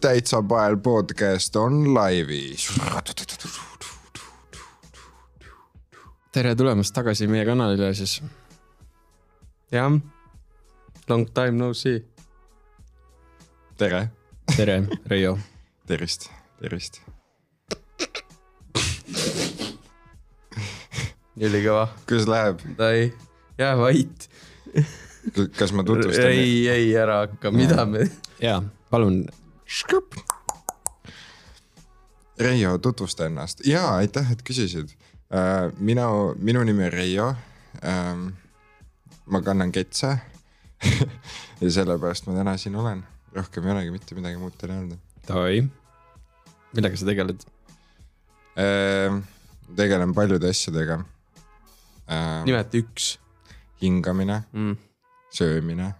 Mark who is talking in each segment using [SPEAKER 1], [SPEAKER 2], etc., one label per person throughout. [SPEAKER 1] täitsa pael podcast on laivis .
[SPEAKER 2] tere tulemast tagasi meie kanalile siis . jah , long time no see .
[SPEAKER 1] tere ,
[SPEAKER 2] tere , Reio .
[SPEAKER 1] tervist , tervist .
[SPEAKER 2] ülikõva ,
[SPEAKER 1] kuidas läheb ,
[SPEAKER 2] ei , jää vait .
[SPEAKER 1] kas ma tutvustan ?
[SPEAKER 2] ei , ei ära hakka , mida me . jaa , palun .
[SPEAKER 1] Reio , tutvusta ennast ja aitäh , et küsisid . mina , minu nimi on Reio . ma kannan ketse . ja sellepärast ma täna siin olen , rohkem ei olegi mitte midagi muud teile öelda .
[SPEAKER 2] Davai . millega sa tegeled ?
[SPEAKER 1] Ehm, tegelen paljude asjadega .
[SPEAKER 3] nimeta üks
[SPEAKER 1] hingamine ,
[SPEAKER 3] mm. .
[SPEAKER 1] söömine .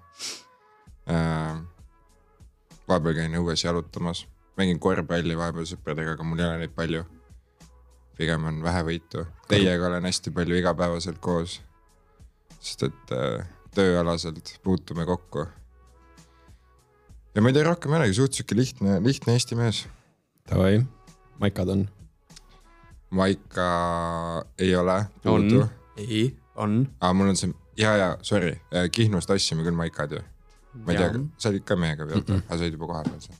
[SPEAKER 1] vahepeal käin õues jalutamas , mängin korvpalli vahepeal sõpradega , aga mul ei ole neid palju . pigem on vähe võitu , teiega olen hästi palju igapäevaselt koos . sest et äh, tööalaselt puutume kokku . ja ma ei tea rohkem ei olegi , suht sihuke lihtne , lihtne eesti mees .
[SPEAKER 2] Davai , maikad on .
[SPEAKER 1] Maika ei ole .
[SPEAKER 3] On. ei , on .
[SPEAKER 1] aa , mul on see , ja , ja sorry , Äh, Kihnus tassime küll maikad ju . ma ei tea , sa olid ka meiega peal mm , -mm. aga sa olid juba kohal veel seal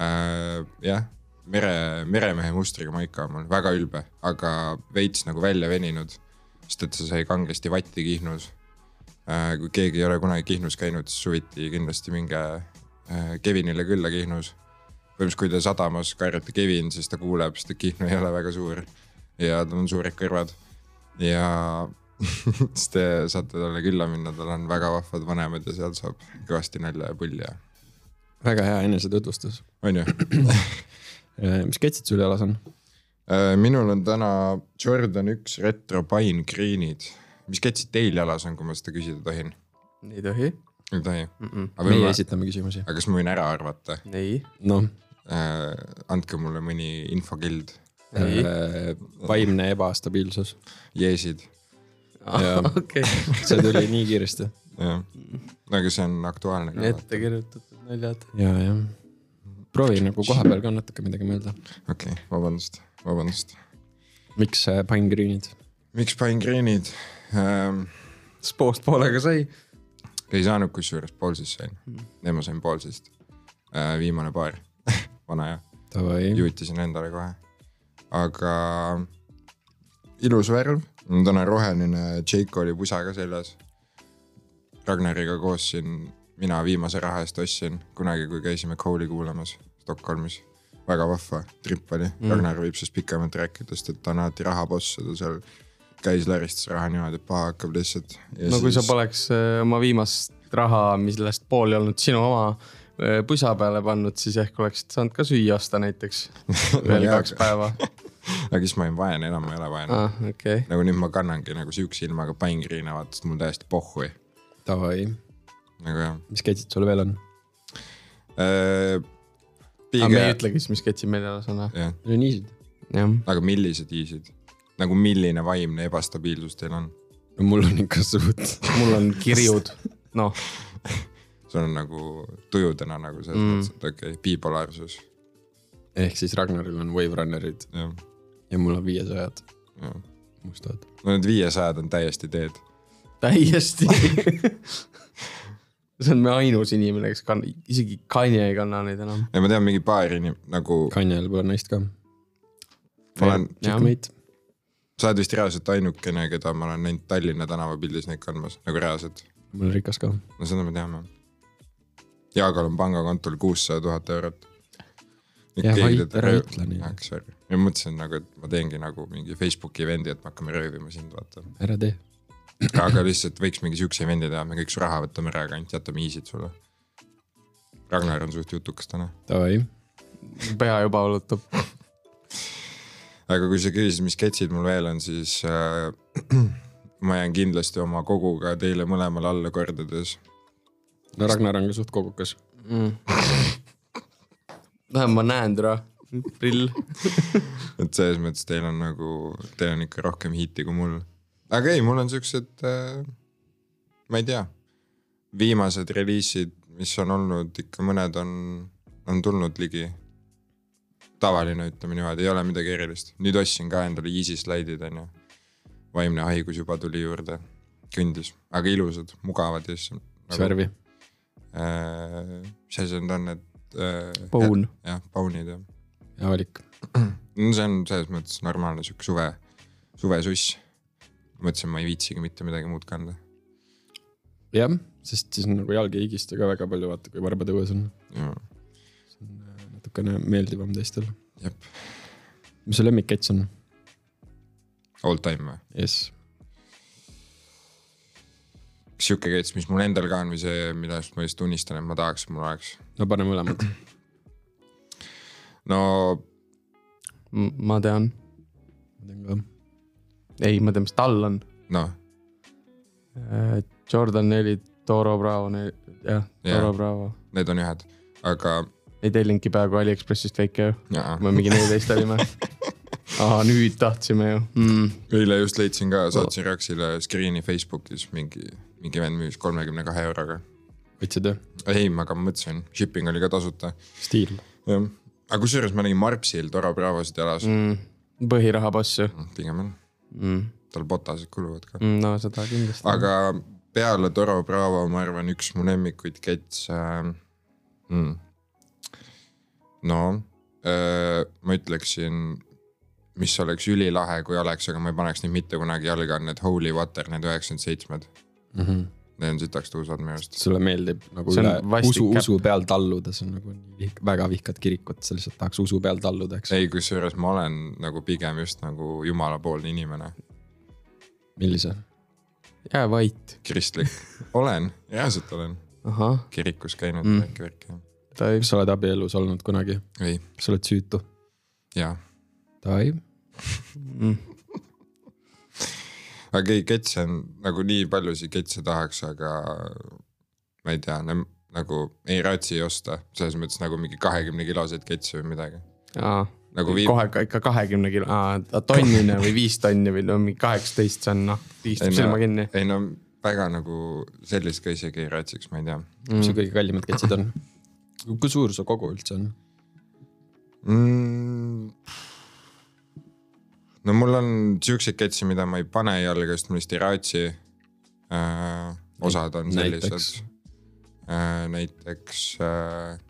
[SPEAKER 1] äh, . jah , mere , meremehe mustriga maika on mul väga ülbe , aga veits nagu välja veninud . sest et see sai kangesti vatti Kihnus äh, . kui keegi ei ole kunagi Kihnus käinud , siis suviti kindlasti minge äh, Kevinile külla Kihnus . põhimõtteliselt , kui te sadamas karjute Kevin , siis ta kuuleb , sest et Kihnu ei ole väga suur ja tal on suured kõrvad ja siis te saate talle külla minna , tal on väga vahvad vanemad ja seal saab kõvasti nalja ja pulli ja
[SPEAKER 2] väga hea enesetutvustus .
[SPEAKER 1] on ju .
[SPEAKER 2] mis ketsid sul jalas on ?
[SPEAKER 1] Äh, minul on täna Jordan üks retro pine green'id . mis ketsid teil jalas on , kui ma seda küsida tohin ?
[SPEAKER 3] ei tohi
[SPEAKER 1] ei tohi .
[SPEAKER 3] mm . -mm.
[SPEAKER 2] meie esitame küsimusi .
[SPEAKER 1] aga kas ma võin ära arvata ?
[SPEAKER 3] ei ,
[SPEAKER 2] noh ,
[SPEAKER 1] Äh, andke mulle mõni infokild ,
[SPEAKER 2] Äh,
[SPEAKER 3] ei ,
[SPEAKER 2] vaimne ebastabiilsus .
[SPEAKER 1] jeesid ,
[SPEAKER 3] okei ,
[SPEAKER 2] see tuli nii kiiresti .
[SPEAKER 1] jah . no aga see on aktuaalne ka .
[SPEAKER 3] ette kirjutatud naljad .
[SPEAKER 2] ja , jah . proovi nagu kohapeal ka natuke midagi mõelda .
[SPEAKER 1] okei okay, , vabandust , vabandust .
[SPEAKER 2] miks äh, Pine Greenid ?
[SPEAKER 1] miks pine green'id ähm, ?
[SPEAKER 3] spoost poolega sai .
[SPEAKER 1] ei saanud kusjuures , pool siis sain mm. , ei ma sain pool siis äh, , viimane paar , vana hea ,
[SPEAKER 2] Davai ,
[SPEAKER 1] juhitasin endale kohe . aga ilus värv , mul on täna roheline , Jake oli pusa ka seljas . Ragnariga koos siin , mina viimase raha eest ostsin kunagi , kui käisime Cole'i kuulamas Stockholmis . väga vahva trip oli mm. , Ragnar võib sellest pikemalt rääkida , sest et ta on alati rahaboss , ta seal käis laristas raha niimoodi , et paha hakkab lihtsalt .
[SPEAKER 3] no kui sa poleks äh, oma viimast raha , millest pool ei olnud sinu oma äh, pusa peale pannud , siis ehk oleksid saanud ka süüa osta näiteks veel
[SPEAKER 1] Jaa,
[SPEAKER 3] kaks
[SPEAKER 1] aga-
[SPEAKER 3] päeva .
[SPEAKER 1] aga siis ma olin vaene , enam ma ei ole vaene ah. .
[SPEAKER 3] ah , okei okay. ,
[SPEAKER 1] nagu nüüd ma kannangi nagu siukse ilmaga paingriina , vaata , sest mul täiesti pohhui ,
[SPEAKER 2] davai ,
[SPEAKER 1] nagu jah
[SPEAKER 2] mis ketsid sul veel on ?
[SPEAKER 1] äh, .
[SPEAKER 3] aga me
[SPEAKER 1] pigem
[SPEAKER 3] ei , ütlegi siis , mis ketsi meil jalas on ,
[SPEAKER 1] jah ,
[SPEAKER 2] Need on easy'd .
[SPEAKER 3] jah .
[SPEAKER 1] aga millised iisid , nagu milline vaimne ebastabiilsus teil on ?
[SPEAKER 2] no mul on ikka suht .
[SPEAKER 3] mul on kirjud , noh ,
[SPEAKER 1] sul on nagu tujudena nagu selles mm. mõttes , et okei okay, , bipolaarsus ,
[SPEAKER 2] ehk siis Ragnaril on Wave Runnerid
[SPEAKER 1] jah ,
[SPEAKER 2] ja mul on viiesajad
[SPEAKER 1] jah .
[SPEAKER 2] mustad .
[SPEAKER 1] no need viiesajad on täiesti teed ,
[SPEAKER 3] täiesti . see on meie ainus inimene , kes kann- , isegi Kanye ei kanna neid enam .
[SPEAKER 1] ja ma tean mingi paari inim- nagu ,
[SPEAKER 2] Kanjal pole naist ka .
[SPEAKER 1] ma olen ,
[SPEAKER 3] Jah.
[SPEAKER 2] Checkmate .
[SPEAKER 1] sa oled vist reaalselt ainukene , keda ma olen näinud Tallinna tänavapildis neid kandmas , nagu reaalselt
[SPEAKER 2] mul on rikas ka .
[SPEAKER 1] no seda me teame . Jaagal on pangakontol kuussada tuhat eurot .
[SPEAKER 2] Jaa, vait- ära ütle nii.
[SPEAKER 1] nii . sorry , ja mõtlesin nagu , et ma teengi nagu mingi Facebooki event'i , et me hakkame röövima sind , vaata .
[SPEAKER 2] ära tee .
[SPEAKER 1] aga lihtsalt võiks mingi siukse event'i teha , me kõik su raha võtame ära , aga ainult jätame easy'd sulle . Ragnar on suht jutukas täna ,
[SPEAKER 2] Davai .
[SPEAKER 3] pea juba valutab .
[SPEAKER 1] aga kui sa küsisid , mis sketšid mul veel on , siis äh, ma jään kindlasti oma koguga teile mõlemale alla kordades .
[SPEAKER 2] no Ragnar on ka suht kogukas .
[SPEAKER 3] vähem ma näen teda , prill .
[SPEAKER 1] et selles mõttes teil on nagu , teil on ikka rohkem hiiti kui mul . aga ei , mul on siuksed äh, , ma ei tea , viimased reliisid , mis on olnud ikka mõned on , on tulnud ligi . tavaline , ütleme niimoodi , ei ole midagi erilist , nüüd ostsin ka endale Yeezy slaidid on ju . vaimne haigus juba tuli juurde , kündis , aga ilusad , mugavad ja siis .
[SPEAKER 2] mis värvi ?
[SPEAKER 1] äh, ? mis asi need on , need äh, ?
[SPEAKER 3] Paun. .
[SPEAKER 1] jah , paunid jah .
[SPEAKER 2] hea valik .
[SPEAKER 1] no see on selles mõttes normaalne sihuke suve , suvesuss . mõtlesin , ma ei viitsigi mitte midagi muud kanda .
[SPEAKER 2] jah , sest siis nagu jalg ei higista ka väga palju , vaata kui varbad õues on . natukene meeldivam teistel .
[SPEAKER 1] jep ,
[SPEAKER 2] mis su lemmikkets on ?
[SPEAKER 1] all time või ?
[SPEAKER 2] jess .
[SPEAKER 1] kas sihuke kets , mis mul endal ka on või see , millest ma just unistan , et ma tahaks , et mul oleks ?
[SPEAKER 2] no pane mõlemad .
[SPEAKER 1] no
[SPEAKER 3] ma tean ,
[SPEAKER 2] ma teen ka .
[SPEAKER 3] ei , ma tean , mis tal on .
[SPEAKER 1] noh ,
[SPEAKER 3] Jordan neli , Toro Bravo , jah ,
[SPEAKER 1] Jah.
[SPEAKER 3] Toro Bravo .
[SPEAKER 1] need on ühed , aga
[SPEAKER 3] ei tellinudki peaaegu Aliekspressist väike ju ,
[SPEAKER 1] jaa.
[SPEAKER 3] kui me mingi neliteist olime . aa , nüüd tahtsime ju mm. .
[SPEAKER 1] eile just leidsin ka , saatsin Raksile screen'i Facebookis mingi , mingi vend müüs kolmekümne kahe euroga .
[SPEAKER 2] võtsid jah ?
[SPEAKER 1] ei , aga ma mõtlesin , shipping oli ka tasuta ,
[SPEAKER 2] stiil .
[SPEAKER 1] jah . aga kusjuures ma nägin Marpsil Toro Bravosid jalas mm. ,
[SPEAKER 3] Mm. põhiraha boss ju
[SPEAKER 1] pigem on ,
[SPEAKER 3] mm. .
[SPEAKER 1] tal botased kuluvad ka .
[SPEAKER 3] no seda kindlasti .
[SPEAKER 1] aga peale Toro Bravo , ma arvan , üks mu lemmikuid kets äh, . Mm. no äh, ma ütleksin , mis oleks ülilahe , kui oleks , aga ma ei paneks neid mitte kunagi jalga , on need Holy Water , need üheksakümmend seitsmed . Need on sitaks tuusad minu arust .
[SPEAKER 2] sulle meeldib nagu
[SPEAKER 3] See on
[SPEAKER 2] üle
[SPEAKER 3] vastik
[SPEAKER 2] usu ,
[SPEAKER 3] äpp.
[SPEAKER 2] usu peal talluda , see on nagu nii vih- väga vihkad kirikut , sa lihtsalt tahaks usu peal talluda , eks .
[SPEAKER 1] ei , kusjuures ma olen nagu pigem just nagu jumalapoolne inimene ,
[SPEAKER 2] millise ?
[SPEAKER 3] jää vait .
[SPEAKER 1] kristlik olen , reaalselt olen
[SPEAKER 3] ahah ,
[SPEAKER 1] kirikus käinud
[SPEAKER 3] Mm.
[SPEAKER 1] mm. , värki värki .
[SPEAKER 3] ta ei ,
[SPEAKER 2] kas sa oled abielus olnud kunagi ?
[SPEAKER 1] ei ,
[SPEAKER 2] kas sa oled süütu ?
[SPEAKER 1] jaa ,
[SPEAKER 2] ei .
[SPEAKER 1] aga ei ketse on nagu nii paljusid ketse tahaks , aga ma ei tea , nagu ei raatsi ei osta , selles mõttes nagu mingi kahekümne kiloseid ketse või midagi .
[SPEAKER 3] aa
[SPEAKER 1] nagu viib ,
[SPEAKER 3] kohe ka ikka kahekümne kilo , tonnine või viis tonni või no mingi kaheksateist , see on noh ,
[SPEAKER 1] Ei,
[SPEAKER 3] pigistab
[SPEAKER 1] no-
[SPEAKER 3] silma kinni .
[SPEAKER 1] ei no väga nagu sellist ka isegi ei raatsiks , ma ei tea
[SPEAKER 2] mis su kõige kallimad ketsid on ? Mm. kui suur su kogu üldse on ?
[SPEAKER 1] mm. . no mul on siukseid ketsi , mida ma ei pane jalga , sest ma lihtsalt ei raatsi äh, . osad on
[SPEAKER 2] Näiteks?
[SPEAKER 1] sellised . Äh, näiteks äh,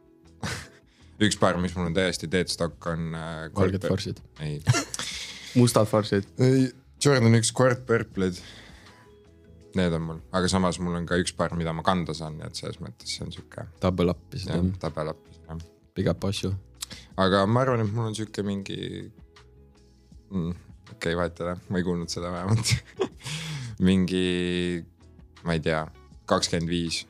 [SPEAKER 1] üks paar , mis mul on täiesti deadstock on äh, .
[SPEAKER 2] valged farsid .
[SPEAKER 1] ei ,
[SPEAKER 3] mustad farsid ,
[SPEAKER 1] ei , Jordan üks Quart Purple'id . Need on mul , aga samas mul on ka üks paar , mida ma kanda saan , nii et selles mõttes see on sihuke
[SPEAKER 2] Double up'i seda
[SPEAKER 1] jah , tabel appis jah .
[SPEAKER 2] big up asju .
[SPEAKER 1] aga ma arvan , et mul on sihuke mingi mm, , okei okay, , vahet ei ole , ma ei kuulnud seda vähemalt . mingi , ma ei tea , kakskümmend viis ,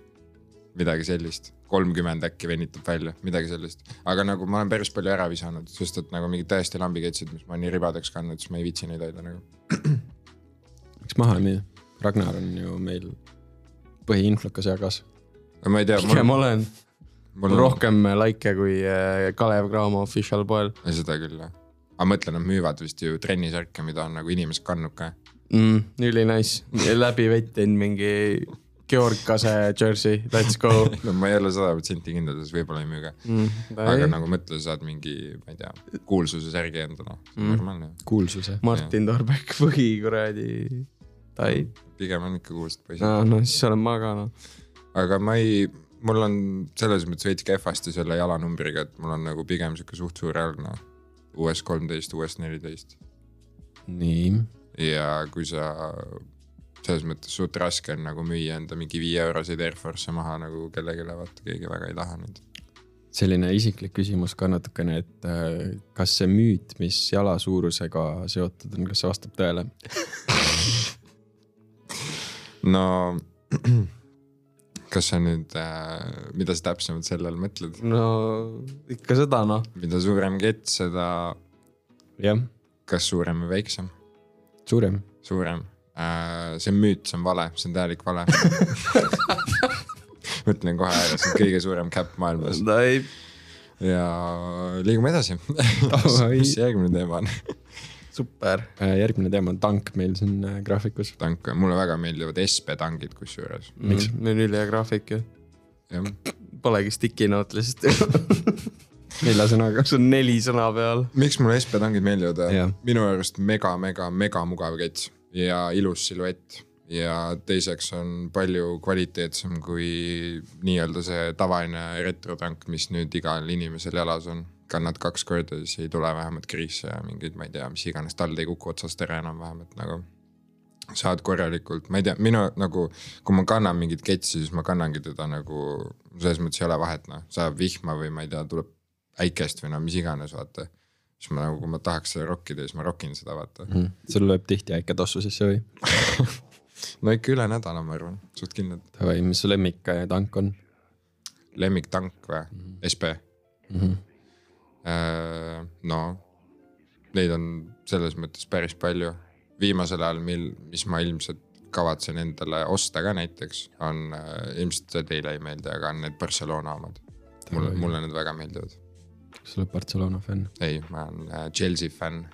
[SPEAKER 1] midagi sellist , kolmkümmend äkki venitab välja , midagi sellist . aga nagu ma olen päris palju ära visanud , sest et nagu mingid täiesti lambiketsid , mis ma olen nii ribadeks kandnud , siis ma ei viitsi neid hoida nagu .
[SPEAKER 2] miks maha on nii ? Ragnar on ju meil põhiinflukas jagas .
[SPEAKER 1] no ma ei tea ,
[SPEAKER 3] pigem olen ,
[SPEAKER 1] mul
[SPEAKER 3] mul on rohkem likee kui äh, Kalev Cramo official poel
[SPEAKER 1] Ja seda küll jah , aga mõtle , nad müüvad vist ju trennisärke , mida on nagu inimesed kandnud ka .
[SPEAKER 3] mm, . üli nice , läbi vettin mingi Georg Kase jersey , let's go
[SPEAKER 1] no ma ei ole sada protsenti kindel , siis võib-olla ei müü ka .
[SPEAKER 3] mm, .
[SPEAKER 1] aga nagu mõtle , sa saad mingi , ma ei tea , kuulsuse särgi endale , see on mm. normaalne .
[SPEAKER 2] kuulsuse .
[SPEAKER 3] Martin Torbek või kuradi Tai ,
[SPEAKER 1] pigem on ikka kuulsad poisid no. ,
[SPEAKER 3] no no siis olen ma ka noh ,
[SPEAKER 1] aga ma ei , mul on selles mõttes veits kehvasti selle jalanumbriga , et mul on nagu pigem sihuke suht suur jalg noh . US kolmteist , US neliteist
[SPEAKER 2] nii .
[SPEAKER 1] ja kui sa selles mõttes suht raske on nagu müüa enda mingi viie euroseid Air Force'e maha nagu kellelegi , vaata keegi väga ei taha neid .
[SPEAKER 2] selline isiklik küsimus ka natukene , et äh, kas see müüt , mis jala suurusega seotud on , kas see vastab tõele ?
[SPEAKER 1] no kas sa nüüd äh, , mida sa täpsemalt selle all mõtled ,
[SPEAKER 3] no ikka seda noh ,
[SPEAKER 1] mida suurem kett , seda
[SPEAKER 2] jah ,
[SPEAKER 1] kas suurem või väiksem ?
[SPEAKER 2] suurem .
[SPEAKER 1] suurem äh, . see on müüt , see on vale , see on täielik vale . ma ütlen kohe ära , see on kõige suurem käpp maailmas
[SPEAKER 3] Tai
[SPEAKER 1] ja liigume edasi . mis see järgmine teema on ?
[SPEAKER 3] super .
[SPEAKER 2] järgmine teema on tank meil siin äh, graafikus .
[SPEAKER 1] tanke , mulle väga meeldivad SB tankid kusjuures ,
[SPEAKER 2] Miks?
[SPEAKER 3] Mm, meil on ülihea graafik ju ,
[SPEAKER 1] jah .
[SPEAKER 3] polegi sticky note lihtsalt ,
[SPEAKER 2] nelja sõnaga .
[SPEAKER 3] kus on neli sõna peal .
[SPEAKER 1] miks mulle SB tankid meeldivad
[SPEAKER 2] Jah. ?
[SPEAKER 1] minu arust mega , mega , mega mugav kett ja ilus siluett ja teiseks on palju kvaliteetsem kui nii-öelda see tavaline retrotank , mis nüüd igal inimesel jalas on kannad kaks korda , siis ei tule vähemalt kriise ja mingeid , ma ei tea , mis iganes , tald ei kuku otsast ära enam-vähem , et nagu . saad korralikult , ma ei tea , minu nagu , kui ma kannan mingit ketsi , siis ma kannangi teda nagu selles mõttes ei ole vahet , noh , sajab vihma või ma ei tea , tuleb äikest või no mis iganes , vaata . siis ma nagu , kui ma tahaks seda rokkida , siis ma rokin seda , vaata .
[SPEAKER 2] sul lööb tihti äike tossu sisse või ?
[SPEAKER 1] no ikka üle nädala , ma arvan , suht kindlalt .
[SPEAKER 2] Davai , mis su lemmik äh, tank on ?
[SPEAKER 1] lemmiktank või mm , -hmm. SB
[SPEAKER 2] mm . -hmm.
[SPEAKER 1] Äh, no neid on selles mõttes päris palju . viimasel ajal , mil , mis ma ilmselt kavatsen endale osta ka näiteks , on äh, , ilmselt see teile ei meeldi , aga on need Barcelona omad . mulle , mulle need väga meeldivad .
[SPEAKER 2] kas sa oled Barcelona fänn ?
[SPEAKER 1] ei , ma olen äh, Chelsea fänn .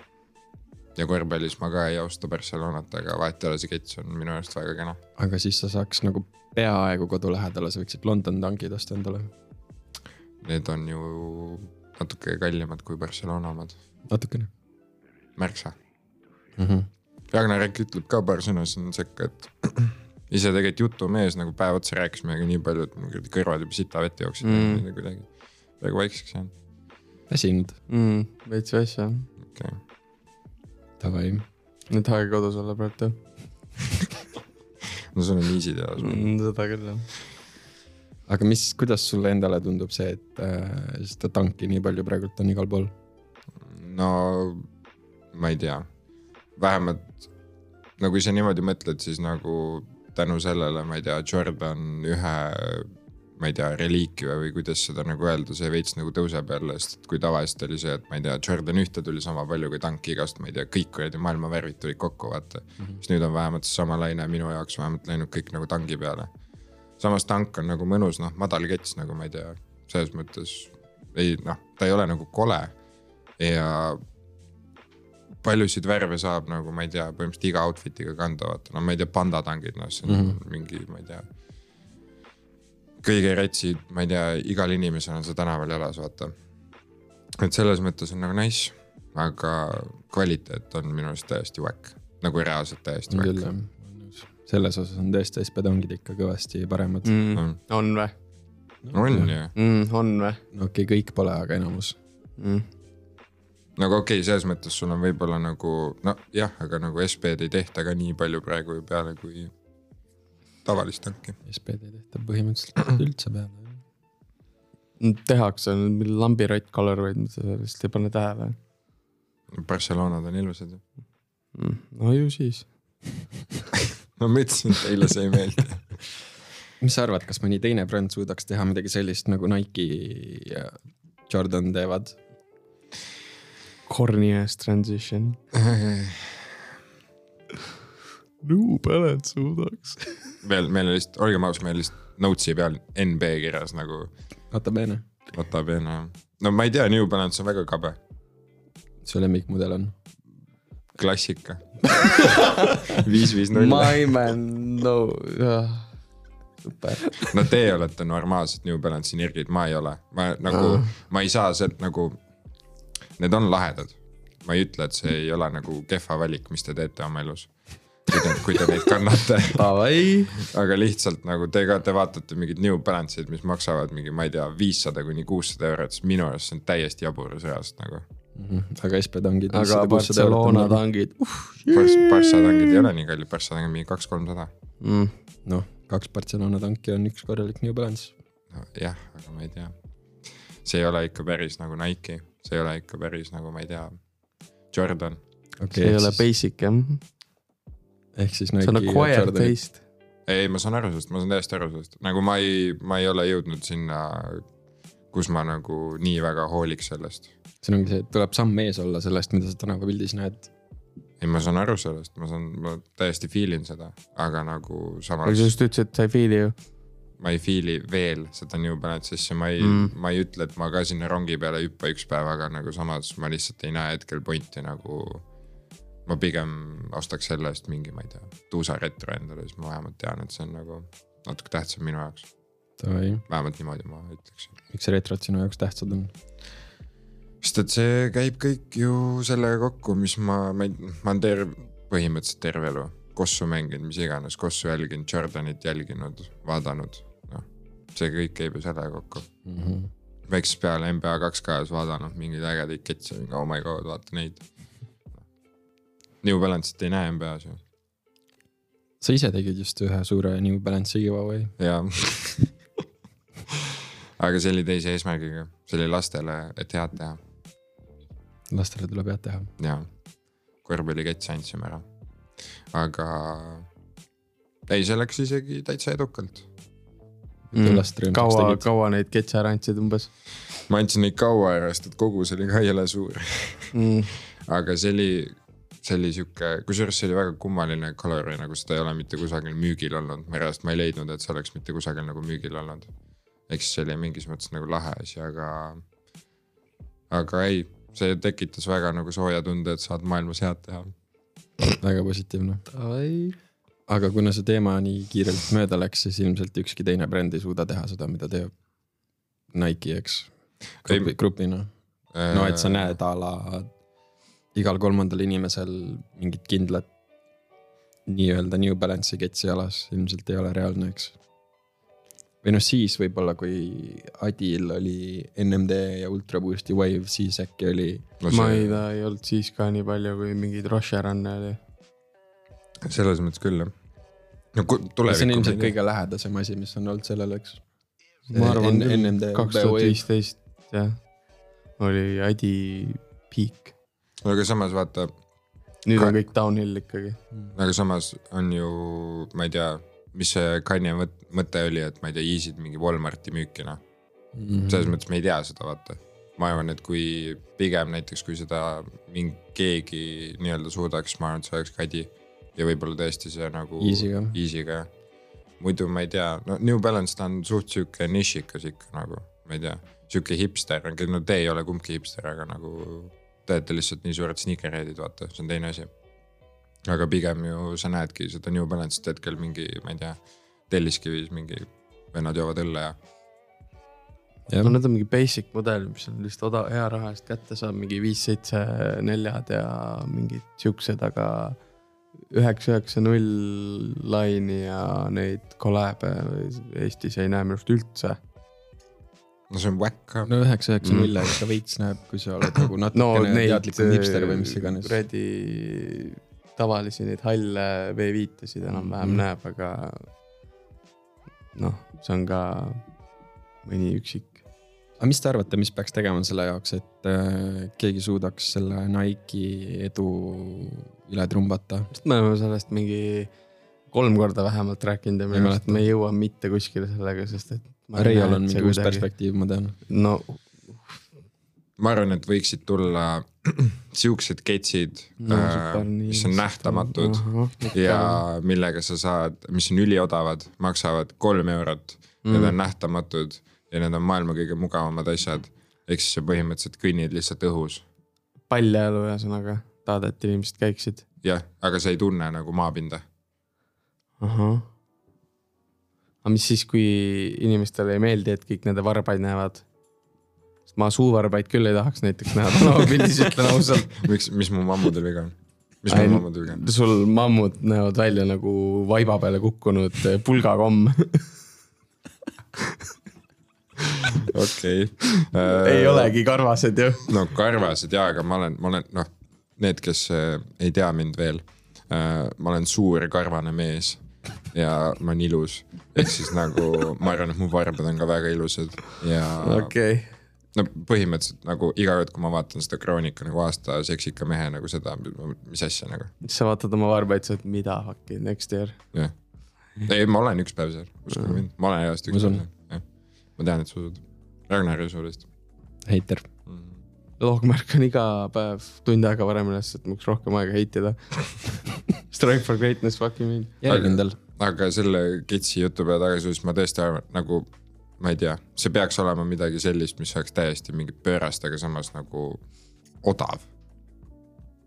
[SPEAKER 1] ja korvpallis ma ka ei austa Barcelonat , aga vahet ei ole , see kets on minu arust väga kena .
[SPEAKER 2] aga siis sa saaks nagu peaaegu kodu lähedale , sa võiksid London tankid osta endale .
[SPEAKER 1] Need on ju natuke kallimad kui Barcelona omad ,
[SPEAKER 2] natukene
[SPEAKER 1] märksa .
[SPEAKER 2] mm . -hmm.
[SPEAKER 1] Ragnarök ütleb ka paar sõna sinna sekka , et ise tegelikult jutumees nagu päev otsa rääkis meiega nii palju , et mul kuradi kõrvad juba sita vett jooksid
[SPEAKER 3] Mm.
[SPEAKER 1] mm. kuidagi . väga vaikseks jäänud ,
[SPEAKER 2] väsinud , Mm.
[SPEAKER 3] veits väsja ,
[SPEAKER 1] okei okay. .
[SPEAKER 2] davai .
[SPEAKER 3] nüüd aega kodus olla praegu jah
[SPEAKER 1] no sul on easy teada mm. .
[SPEAKER 3] mm, , seda küll jah .
[SPEAKER 2] aga mis , kuidas sulle endale tundub see , et äh, seda tanki nii palju praegult on igal pool ?
[SPEAKER 1] no ma ei tea , vähemalt no kui sa niimoodi mõtled , siis nagu tänu sellele , ma ei tea , Jordan ühe , ma ei tea , reliikvia või kuidas seda nagu öelda , see veits nagu tõuseb jälle , sest et kui tavaliselt oli see , et ma ei tea , Jordan ühte tuli sama palju kui tanki igast , ma ei tea , kõik kuradi maailma värvid tulid kokku , vaata mm . -hmm. siis nüüd on vähemalt seesama laine minu jaoks vähemalt läinud kõik nagu tangi peale . samas tank on nagu mõnus , noh , madal kets nagu ma ei tea , selles mõttes ei noh , ta ei ole nagu kole ja paljusid värve saab nagu , ma ei tea , põhimõtteliselt iga outfit'iga kanda , vaata , no ma ei tea , pandatangid , noh , see on mm
[SPEAKER 2] Mhm.
[SPEAKER 1] -hmm. mingi , ma ei tea . kõige rätsid , ma ei tea , igal inimesel on see tänaval jalas , vaata . et selles mõttes on nagu nice , aga kvaliteet on minu arust täiesti whack , nagu reaalselt täiesti
[SPEAKER 2] küll
[SPEAKER 1] whack .
[SPEAKER 2] jah , selles osas on tõesti SB tankid ikka kõvasti paremad mm. .
[SPEAKER 3] on vä
[SPEAKER 1] on
[SPEAKER 2] Mhm.
[SPEAKER 1] ju ,
[SPEAKER 3] mm, ? on vä
[SPEAKER 2] no okei okay, , kõik pole , aga enamus .
[SPEAKER 3] mm. ?
[SPEAKER 1] nagu okei okay, , selles mõttes sul on võib-olla nagu nojah , aga nagu SB-d ei tehta ka nii palju praegu ju peale kui tavalist tanki .
[SPEAKER 2] SB-d ei tehta põhimõtteliselt üldse peale .
[SPEAKER 3] Mm, tehakse nüüd mingi lambirott colorway'd , ma seda vist ei pane tähele
[SPEAKER 1] Barcelonad on ilusad ju .
[SPEAKER 3] mm. . no ju siis .
[SPEAKER 1] no ma ütlesin , et teile see ei meeldi .
[SPEAKER 2] mis sa arvad , kas mõni teine bränd suudaks teha midagi sellist nagu Nike ja Jordan teevad ?
[SPEAKER 3] Corny ass transition . New Balance suudaks .
[SPEAKER 1] veel , meil oli lihtsalt , olgem ausad , meil lihtsalt notes'i peal NB kirjas nagu
[SPEAKER 2] vaata peene ,
[SPEAKER 1] nota bene . no ma ei tea , New Balance on väga kabe ,
[SPEAKER 2] su lemmikmudel on ?
[SPEAKER 1] klassika . viis , viis , null .
[SPEAKER 3] My man , no jah , super .
[SPEAKER 1] no teie olete normaalsed New Balance'i nirgid , ma ei ole , ma nagu , ma ei saa sealt nagu . Need on lahedad , ma ei ütle , et see ei ole nagu kehva valik , mis te teete oma elus . kui te , kui te neid kannate
[SPEAKER 3] Davai .
[SPEAKER 1] aga lihtsalt nagu te ka , te vaatate mingeid New Balance'id , mis maksavad mingi , ma ei tea , viissada kuni kuussada eurot , siis minu arust see on täiesti jabur reaalselt nagu .
[SPEAKER 2] Mhm. aga SB tangid .
[SPEAKER 3] aga Barcelona .
[SPEAKER 2] nagu
[SPEAKER 3] tangid uh, .
[SPEAKER 1] Barssa tangid ei ole nii kallid , Barssa tangid mingi kaks-kolmsada .
[SPEAKER 3] Mm.
[SPEAKER 2] noh , kaks Barcelona tanki on üks korralik New Balance .
[SPEAKER 1] jah , aga ma ei tea . see ei ole ikka päris nagu Nike , see ei ole ikka päris nagu , ma ei tea , Jordan .
[SPEAKER 2] okay,
[SPEAKER 3] see ei ole . basic jah ,
[SPEAKER 2] ehk siis
[SPEAKER 3] see on
[SPEAKER 2] Nike
[SPEAKER 3] acquired . taste .
[SPEAKER 1] ei , ma saan aru sellest , ma saan täiesti aru sellest , nagu ma ei , ma ei ole jõudnud sinna , kus ma nagu nii väga hooliks sellest .
[SPEAKER 2] see ongi see , et tuleb samm ees olla sellest , mida sa tänavapildis näed .
[SPEAKER 1] ei , ma saan aru sellest , ma saan , ma täiesti feel in seda , aga nagu samas .
[SPEAKER 3] aga sa just ütlesid , et sa ei feel'i ju .
[SPEAKER 1] ma ei feel'i veel seda New Balance'isse , ma ei mm.
[SPEAKER 3] Mm. ,
[SPEAKER 1] ma ei ütle , et ma ka sinna rongi peale ei hüppa üks päev , aga nagu samas ma lihtsalt ei näe hetkel pointi nagu ma pigem ostaks selle eest mingi , ma ei tea , tuusa retro endale , siis ma vähemalt tean , et see on nagu natuke tähtsam minu jaoks ,
[SPEAKER 2] davai ,
[SPEAKER 1] vähemalt niimoodi ma ütleks .
[SPEAKER 2] miks retrod sinu jaoks tähtsad on ?
[SPEAKER 1] sest et see käib kõik ju sellega kokku , mis ma , ma ei , ma olen terve , põhimõtteliselt terve elu kossu mänginud , mis iganes , kossu jälginud , Jordanit jälginud , vaadanud , noh . see kõik käib ju sellega kokku ,
[SPEAKER 2] Mm -hmm.
[SPEAKER 1] väiksest peale NBA kaks kajas vaadanud mingeid ägedaid ketse , oh my god , vaata neid . New Balance'it ei näe NBA-s ju ,
[SPEAKER 2] sa ise tegid just ühe suure New Balance'i giveaway ,
[SPEAKER 1] jaa aga see oli teise eesmärgiga , see oli lastele , et head teha ,
[SPEAKER 2] lastele tuleb head teha .
[SPEAKER 3] Mm.
[SPEAKER 1] jaa . korvpalliketse andsime ära , aga ei , see läks isegi täitsa edukalt ,
[SPEAKER 2] Mm,
[SPEAKER 3] kaua , kaua neid ketse ära andsid umbes
[SPEAKER 1] ma andsin neid kaua ära , sest et kogus oli ka jõle suur ,
[SPEAKER 3] mm. ?
[SPEAKER 1] aga see oli , see oli sihuke , kusjuures see oli väga kummaline kalori , nagu seda ei ole mitte kusagil müügil olnud , mereäärest ma ei leidnud , et see oleks mitte kusagil nagu müügil olnud . eks see oli mingis mõttes nagu lahe asi , aga , aga ei , see tekitas väga nagu sooja tunde , et saad maailmas head teha .
[SPEAKER 2] väga positiivne , aga kuna see teema nii kiirelt mööda läks , siis ilmselt ükski teine bränd ei suuda teha seda , mida teeb Nike , eks .
[SPEAKER 1] Ei-
[SPEAKER 2] grupi , grupina , no et
[SPEAKER 1] Äh.
[SPEAKER 2] sa . näed a la igal kolmandal inimesel mingit kindlat nii-öelda New Balance'i ketsi jalas ilmselt ei ole reaalne , eks . või noh , siis võib-olla , kui Adil oli NMD ja Ultra Boosti Wave , siis äkki oli
[SPEAKER 1] no
[SPEAKER 3] ma ei ,
[SPEAKER 1] see ,
[SPEAKER 3] ta ei olnud siis ka nii palju , kui mingeid Roche Run'e oli .
[SPEAKER 1] selles mõttes küll jah . no ku-
[SPEAKER 2] see on
[SPEAKER 1] tulevikku
[SPEAKER 2] ilmselt . kõige lähedasem asi , mis on olnud sellele , eks .
[SPEAKER 3] ma arvan ,
[SPEAKER 2] NMD
[SPEAKER 3] kaks tuhat
[SPEAKER 2] Wave ,
[SPEAKER 3] viisteist jah , oli Adi peak .
[SPEAKER 1] aga samas vaata ,
[SPEAKER 3] nüüd
[SPEAKER 1] Ka-
[SPEAKER 3] on kõik downhill ikkagi .
[SPEAKER 1] aga samas on ju , ma ei tea , mis see Kanye mõt- mõte oli , et ma ei tea , Yeezy'd mingi Walmarti müüki noh .
[SPEAKER 2] Mhm.
[SPEAKER 1] selles mõttes me ei tea seda , vaata . ma arvan , et kui pigem näiteks , kui seda mingi keegi nii-öelda suudaks , ma arvan , et see oleks Kadi . ja võib-olla tõesti see nagu .
[SPEAKER 2] Yeezy'ga.
[SPEAKER 1] Easy'ga jah . muidu ma ei tea , no New Balance ta on suht sihuke nišikas ikka nagu , ma ei tea . Sihuke hipster , no te ei ole kumbki hipster , aga nagu te olete lihtsalt nii suured sneakerhead'id , vaata , see on teine asi . aga pigem ju sa näedki seda New Balance'it hetkel mingi , ma ei tea , Telliskivis mingi vennad joovad õlle ja
[SPEAKER 3] no need on mingi basic mudel , mis on lihtsalt oda- , hea raha eest kätte saab , mingi viis , seitse , neljad ja mingid siuksed , aga üheksa , üheksa , null laini ja neid kolläbe Eestis ei näe minu arust üldse .
[SPEAKER 1] no see on whack ka .
[SPEAKER 2] no üheksa , üheksa
[SPEAKER 1] Mm.
[SPEAKER 2] null , aga ikka veits näeb , kui sa oled nagu
[SPEAKER 3] no
[SPEAKER 2] natukene no,
[SPEAKER 3] neid .
[SPEAKER 2] teadlikum hipster või mis
[SPEAKER 1] äh,
[SPEAKER 2] iganes .
[SPEAKER 3] kuradi tavalisi neid halle V5-sid enam-vähem
[SPEAKER 2] Mhm.
[SPEAKER 3] mm. näeb , aga noh , see on ka mõni üksik .
[SPEAKER 2] aga mis te arvate , mis peaks tegema selle jaoks , et äh, keegi suudaks selle Nike'i edu üle trumbata ?
[SPEAKER 3] sest me oleme sellest mingi kolm korda vähemalt rääkinud ja
[SPEAKER 2] Ei
[SPEAKER 3] minu arust
[SPEAKER 2] mäleta.
[SPEAKER 3] me ei jõua mitte kuskile sellega , sest et .
[SPEAKER 2] Reial on mingi uus . perspektiiv , ma tean .
[SPEAKER 3] no
[SPEAKER 1] ma arvan , et võiksid tulla siuksed ketsid
[SPEAKER 3] No,
[SPEAKER 1] no, ,
[SPEAKER 3] super,
[SPEAKER 1] äh,
[SPEAKER 3] nii
[SPEAKER 1] mis on
[SPEAKER 3] ilmselt
[SPEAKER 1] nähtamatud uh
[SPEAKER 3] ahah,
[SPEAKER 1] -huh. ja millega sa saad , mis on üliodavad , maksavad kolm eurot mm. . Need on nähtamatud ja need on maailma kõige mugavamad asjad . ehk siis sa põhimõtteliselt kõnnid lihtsalt õhus ,
[SPEAKER 3] paljajalu ühesõnaga , tahad , et inimesed käiksid ?
[SPEAKER 1] jah , aga sa ei tunne nagu maapinda .
[SPEAKER 3] ahah . aga mis siis , kui inimestele ei meeldi , et kõik nende varbaid näevad ? sest ma suuvarbaid küll ei tahaks näiteks näha tänavapildis , ütlen ausalt .
[SPEAKER 1] miks , mis mu mammudel viga on ? mis
[SPEAKER 3] Ai,
[SPEAKER 1] mu mammudel viga on ?
[SPEAKER 3] sul mammud näevad välja nagu vaiba peale kukkunud eh, pulgakomm .
[SPEAKER 1] okei .
[SPEAKER 3] ei .
[SPEAKER 1] Äh.
[SPEAKER 3] olegi karvased ju .
[SPEAKER 1] no karvased jaa , aga ma olen , ma olen noh , need , kes äh, ei tea mind veel äh, . ma olen suur karvane mees ja ma olen ilus , ehk siis nagu ma arvan , et mu varbad on ka väga ilusad ja okay.
[SPEAKER 3] okei okay. ,
[SPEAKER 1] no põhimõtteliselt nagu iga kord , kui ma vaatan seda Kroonika nagu aasta seksika mehe nagu seda , mis asja nagu
[SPEAKER 3] siis sa vaatad oma varbaid , sa oled mida fuck'i next year .
[SPEAKER 1] jah . ei , ma olen üks päev seal , uskuge mind , ma olen ajast
[SPEAKER 2] Ma
[SPEAKER 1] üks
[SPEAKER 2] usun.
[SPEAKER 1] päev seal , jah . ma tean , et sa usud , Ragnar ei usu vist
[SPEAKER 2] Heiter .
[SPEAKER 1] mm. .
[SPEAKER 3] loogmärk on iga päev tund aega varem üles , et mul oleks rohkem aega heitida . Strive for greatness fucking me .
[SPEAKER 2] järjekindel .
[SPEAKER 1] aga selle kitsi jutu peale tagasi tulles ma tõesti arvan , nagu ma ei tea , see peaks olema midagi sellist , mis oleks täiesti mingi pöörast , aga samas nagu odav .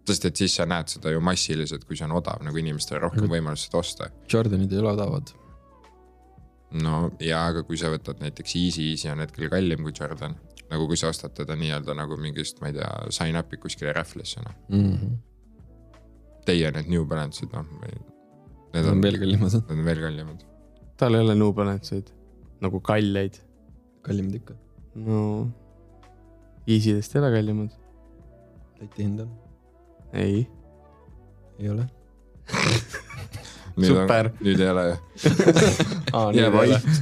[SPEAKER 1] sest et siis sa näed seda ju massiliselt, kui see on odav, nagu inimestel on rohkem võimalust seda osta.
[SPEAKER 2] Jordanid ei ole odavad.
[SPEAKER 1] no ja, aga kui sa võtad näiteks Easy, Easy on hetkel kallim kui Jordan. nagu kui sa ostad teda nii-öelda nagu mingist, ma ei tea, sign up'i kuskile rähvlisse noh
[SPEAKER 2] mm . -hmm.
[SPEAKER 1] Teie need New Balance'id noh.
[SPEAKER 2] Need on veel kallimad ,
[SPEAKER 1] Need on veel kallimad .
[SPEAKER 3] tal ei ole New Balance'id nagu kalleid .
[SPEAKER 2] kallimad ikka .
[SPEAKER 3] no Easy'dest ei ole kallimad ,
[SPEAKER 2] Läti hind on ,
[SPEAKER 3] ei .
[SPEAKER 2] ei ole .
[SPEAKER 3] Super.
[SPEAKER 1] nüüd ei ole ju , jääb
[SPEAKER 2] jääb
[SPEAKER 1] vait .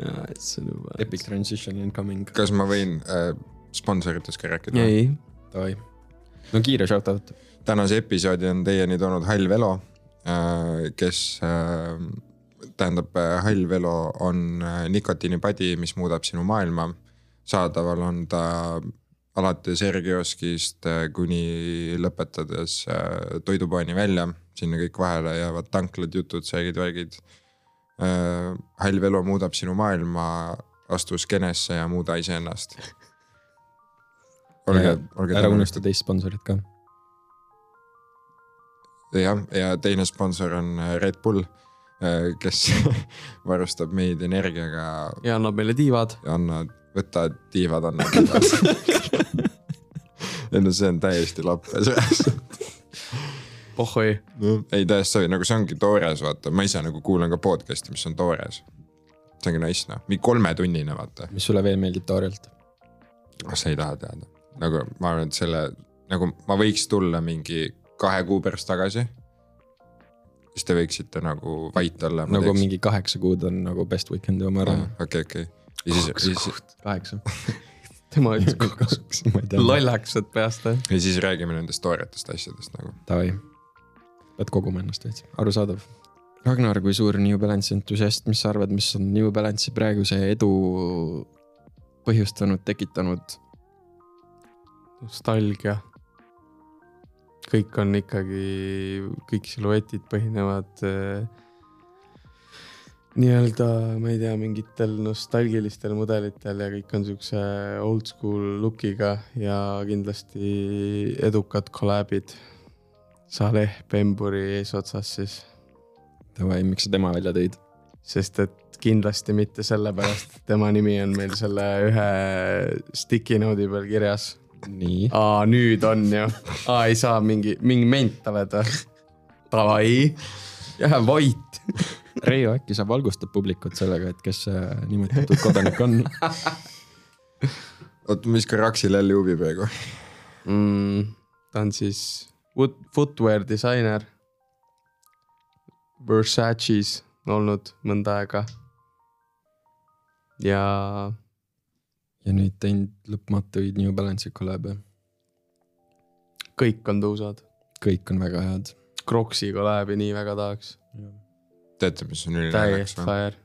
[SPEAKER 3] jaa , et see on juba .
[SPEAKER 2] Epic transition incoming ,
[SPEAKER 1] kas ma võin äh, sponsoritest ka rääkida ?
[SPEAKER 3] ei ,
[SPEAKER 2] davai . no kiire shout out .
[SPEAKER 1] tänase episoodi on teieni toonud Hall Velo äh, , kes äh, , tähendab , Hall Velo on äh, nikotiinipadi , mis muudab sinu maailma . saadaval on ta alates erikioskist äh, kuni lõpetades äh, toidupoeni välja , sinna kõik vahele jäävad tanklad , jutud , särgid , värgid äh, . Hall Velo muudab sinu maailma , astu skeenesse ja muuda iseennast . olge , olge
[SPEAKER 2] ära unusta teist sponsorit ka .
[SPEAKER 1] jah , ja teine sponsor on äh, Red Bull , kes varustab meid energiaga ,
[SPEAKER 3] ja annab meile tiivad .
[SPEAKER 1] anna , võta tiivad , anna tiivad . ei no see on täiesti lappes .
[SPEAKER 3] ohoi ,
[SPEAKER 1] ei täiesti sobi , nagu see ongi toores , vaata , ma ise nagu kuulan ka podcast'i , mis on toores . see ongi nice noh , mingi kolmetunnine vaata ,
[SPEAKER 2] mis sulle veel meeldib Taarjalt ?
[SPEAKER 1] sa ei taha teada . nagu ma arvan , et selle , nagu ma võiks tulla mingi kahe kuu pärast tagasi . siis te võiksite nagu vait olla .
[SPEAKER 2] nagu mingi kaheksa kuud on nagu best weekend'i oma ära .
[SPEAKER 3] Mm.
[SPEAKER 1] okei , okei . ja siis , ja siis ,
[SPEAKER 2] kaheksa .
[SPEAKER 3] tema ütles kokku
[SPEAKER 2] ma ei tea .
[SPEAKER 3] lollaks , et peast eh? jah .
[SPEAKER 1] ja siis räägime nendest tooretest asjadest nagu .
[SPEAKER 2] Davai , pead koguma ennast veits , arusaadav . Ragnar , kui suur New Balance'i entusiast , mis sa arvad , mis on New Balance'i praeguse edu põhjustanud , tekitanud ?
[SPEAKER 3] nostalgia . kõik on ikkagi , kõik siluetid põhinevad äh, nii-öelda , ma ei tea , mingitel nostalgilistel mudelitel ja kõik on siukse oldschool look'iga ja kindlasti edukad kollab'id . Saleh Bemburi eesotsas siis ,
[SPEAKER 2] Davai , miks sa tema välja tõid ?
[SPEAKER 3] sest et kindlasti mitte sellepärast , et tema nimi on meil selle ühe sticky node'i peal kirjas
[SPEAKER 2] nii ,
[SPEAKER 3] aa , nüüd on ju , aa ei saa mingi , mingi ment oled või ? Davai , jää vait .
[SPEAKER 2] Reio , äkki sa valgustad publikut sellega , et kes see nimetatud kodanik on ?
[SPEAKER 1] oota , ma viskan Raksile jälle huvi praegu .
[SPEAKER 3] Mm, ta on siis foot- footwear disainer . Versace's olnud mõnda aega . ja
[SPEAKER 2] ja nüüd teinud lõpmatuid New Balance'i kolläbe ,
[SPEAKER 3] kõik on tõusvad , kõik .
[SPEAKER 2] kõik on väga head .
[SPEAKER 3] Crocs'i kolläbi nii väga tahaks ,
[SPEAKER 1] teate , mis on ülinaljakas
[SPEAKER 3] täiesti
[SPEAKER 1] või ?
[SPEAKER 3] fire .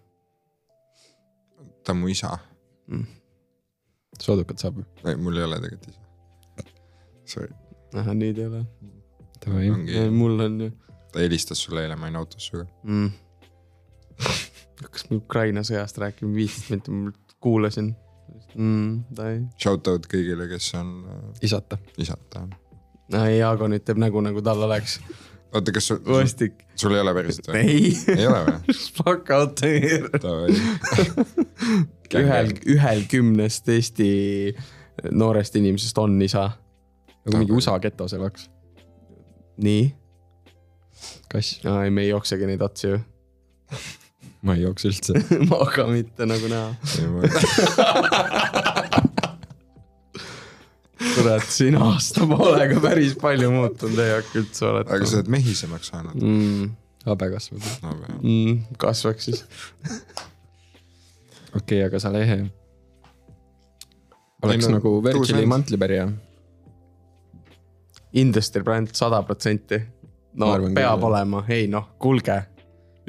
[SPEAKER 1] ta on mu isa .
[SPEAKER 2] soodukat saab .
[SPEAKER 1] ei , mul ei ole tegelikult isa . Sorry ,
[SPEAKER 3] ahah , nüüd ei ole ,
[SPEAKER 2] Davai ,
[SPEAKER 1] ongi ,
[SPEAKER 3] mul on ju
[SPEAKER 1] ta helistas sulle eile , ma olin autos sinuga .
[SPEAKER 3] mm. . hakkas me Ukraina sõjast rääkima viisteist minutit , ma kuulasin mm, . ta ei ,
[SPEAKER 1] Shout out kõigile , kes on äh,
[SPEAKER 2] isata .
[SPEAKER 1] isata .
[SPEAKER 3] ei Jaago nüüd teeb nägu , nagu tal oleks
[SPEAKER 1] oota , kas sul ,
[SPEAKER 3] vastik .
[SPEAKER 1] sul ei ole päriselt või ?
[SPEAKER 3] ei ,
[SPEAKER 1] ei ole või ?
[SPEAKER 3] fuck out here . ühel , ühel kümnest Eesti noorest inimesest on isa .
[SPEAKER 2] nagu mingi USA getos elaks .
[SPEAKER 3] nii ,
[SPEAKER 2] kass ,
[SPEAKER 3] ei me ei jooksegi neid otsi ju ,
[SPEAKER 2] ma ei jookse üldse .
[SPEAKER 3] ma ka mitte nagu näha . kurat , siin aasta poolega päris palju muutunud ei hakka üldse
[SPEAKER 1] aga sa
[SPEAKER 3] oletama .
[SPEAKER 1] oled mehisemaks saanud
[SPEAKER 3] Mm,
[SPEAKER 2] habe kasvab .
[SPEAKER 1] no, .
[SPEAKER 3] mm, kasvaks siis .
[SPEAKER 2] okei okay, , aga sa lehe . oleks
[SPEAKER 1] Ei no,
[SPEAKER 2] nagu Virgili
[SPEAKER 1] tuus vend.
[SPEAKER 2] mantlipärija .
[SPEAKER 3] Industry bränd sada protsenti . no
[SPEAKER 2] Ma arvan
[SPEAKER 3] peab
[SPEAKER 2] küll, jah.
[SPEAKER 3] olema , ei noh , kuulge .